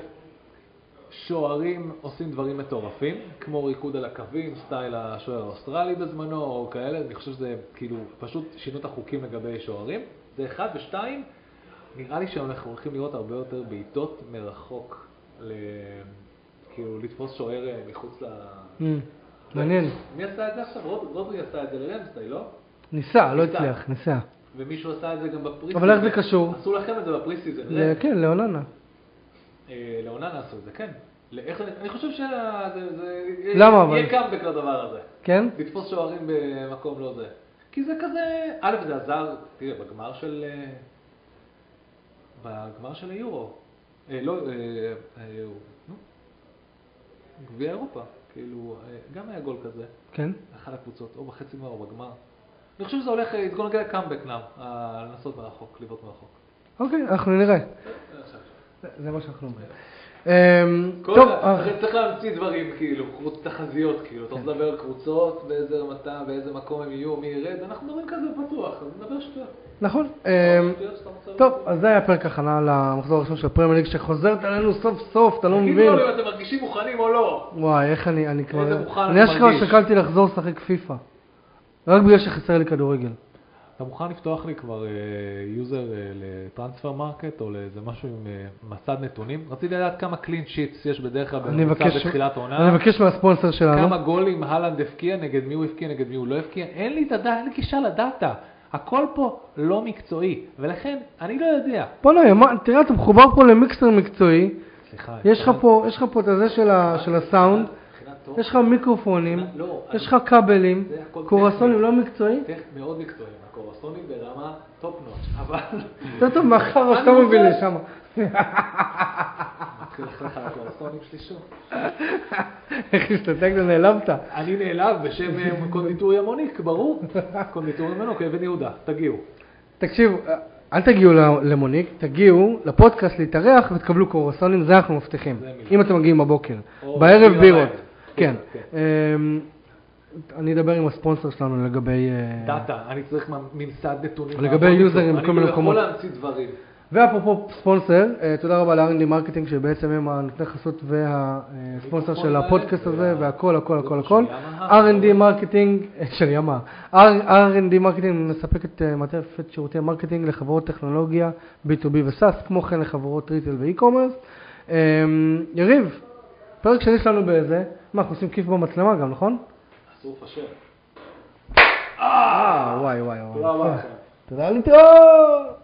B: שוערים עושים דברים מטורפים, כמו ריקוד על הקווים, סטייל השוער האוסטרלי בזמנו, או כאלה, אני חושב שזה כאילו, פשוט שינו את החוקים לגבי שוערים, זה אחד, ושתיים, נראה לי שאנחנו הולכים לראות הרבה יותר בעיטות מרחוק, ל... כאילו לתפוס שוער אה, מחוץ ל...
A: אה, מעניין.
B: מי עשה את זה עכשיו? רוד- רודרי עשה את זה לרמסטי, לא?
A: ניסה, לא
B: ניסה.
A: הצליח, ניסה.
B: ומישהו עשה את זה גם בפרי
A: אבל איך זה קשור?
B: עשו לכם את זה בפרי סיזן.
A: זה- כן, לאוננה.
B: לעונה עשו את זה, כן. לאיך- אני חושב שה... זה- זה-
A: למה, אבל?
B: יהיה קאמבק לדבר הזה.
A: כן?
B: לתפוס שוערים במקום לא זה. כי זה כזה... א', זה עזר, תראה, בגמר של... אה, בגמר של היורו. אה, לא, אה, אה, נו. גביע אירופה. כאילו, אה, גם היה גול כזה.
A: כן?
B: אחת הקבוצות, או בחצי גמר או בגמר. אני חושב שזה הולך, אה, it's gonna get a comeback now, אה, לנסות מרחוק, לבעוט מרחוק.
A: אוקיי, אנחנו נראה. זה- זה מה שאנחנו אומרים. אמ,
B: כל
A: טוב,
B: ה-
A: אה, כן.
B: צריך- צריך להמציא דברים, כאילו, חוץ תחזיות, כאילו, אתה רוצה לדבר על קבוצות, באיזה מטה, באיזה מקום הם יהיו, מי ירד, אנחנו מדברים כזה פתוח, אז נדבר שטויות.
A: נכון. אמ, טוב, אז זה היה פרק הכנה למחזור הראשון של הפרמייר ליג שחוזרת עלינו סוף סוף, אתה לא
B: תגידו
A: מבין.
B: לנו אם אתם מרגישים מוכנים או לא.
A: וואי, איך אני, אני
B: איזה
A: כבר...
B: מוכן
A: אני
B: אתה
A: אשכרה
B: מרגיש.
A: שקלתי לחזור לשחק פיפא. רק בגלל שחסר לי כדורגל.
B: אתה מוכן לפתוח לי כבר אה, יוזר אה, לטרנספר מרקט או לאיזה משהו עם אה, מסד נתונים? רציתי לדעת כמה קלין שיטס יש בדרך כלל
A: אני
B: בממוצע
A: מבקש,
B: בתחילת
A: אני
B: עונה.
A: מבקש מהספונסר שלנו.
B: כמה גולים הלנד הבקיע, נגד מי הוא הבקיע, נגד מי הוא לא הבקיע. אין לי את הדעת, אין לי גישה לדאטה. הכל פה לא מקצועי, ולכן אני לא יודע.
A: בוא'נה, מה- תראה, אתה מחובר פה למיקסר מקצועי.
B: סליחה.
A: יש לך פה, יש לך פה את הזה של ה- של הסאונד.
B: מבחינת תוכן,
A: יש לך מיקרופונים.
B: לא,
A: יש לך כבלים.
B: זה הכל
A: קורסונים
B: טכני.
A: לא מקצועי.
B: טכ- מאוד מקצועי, הקורסונים ברמה טופ נוטש, אבל...
A: יותר טוב מאחר שאתה
B: אני
A: מביא
B: רוצה-
A: לשם.
B: מתחיל לחלק על הקורסונים שלי שוב.
A: איך הסתתקת, נעלמת.
B: אני נעלב בשם אה, קונדיטוריה מוניק, ברור. קונדיטוריה מוניק, אבן יהודה, תגיעו.
A: תקשיב, אה, אל תגיעו ל- למוניק, תגיעו לפודקאסט להתארח ותקבלו קורסונים, זה אנחנו מבטיחים.
B: זה מילה.
A: אם אתם מגיעים בבוקר.
B: או
A: בערב
B: בלילה.
A: בירות. כן.
B: כן.
A: אמ, אני אדבר עם הספונסר שלנו לגבי... אה,
B: דאטה, אני צריך מ- ממסד נתונים.
A: לגבי
B: לעבוד
A: יוזרים
B: איתו.
A: בכל מיני מקומות.
B: אני לא יכול להמציא דברים.
A: ואפרופו ספונסר, אה, תודה רבה ל-R&D מרקטינג שבעצם הם הנותני חסות והספונסר של
B: האלה,
A: הפודקאסט הזה
B: וה-
A: והכל הכל הכל
B: של
A: הכל.
B: ימאהה.
A: R&D מרקטינג, אה, של ימה, R&D מרקטינג מספקת אה, מעטפת שירותי מרקטינג לחברות טכנולוגיה B2B ו-SAS, כמו כן לחברות ריטל ואי-קומרס. אה, יריב, פרק שני שלנו באיזה, מה אנחנו עושים כיף במצלמה גם, נכון?
B: אסור לפשר.
A: אה, וואי וואי
B: תודה
A: וואי.
B: רבה לכם.
A: תודה להתראות.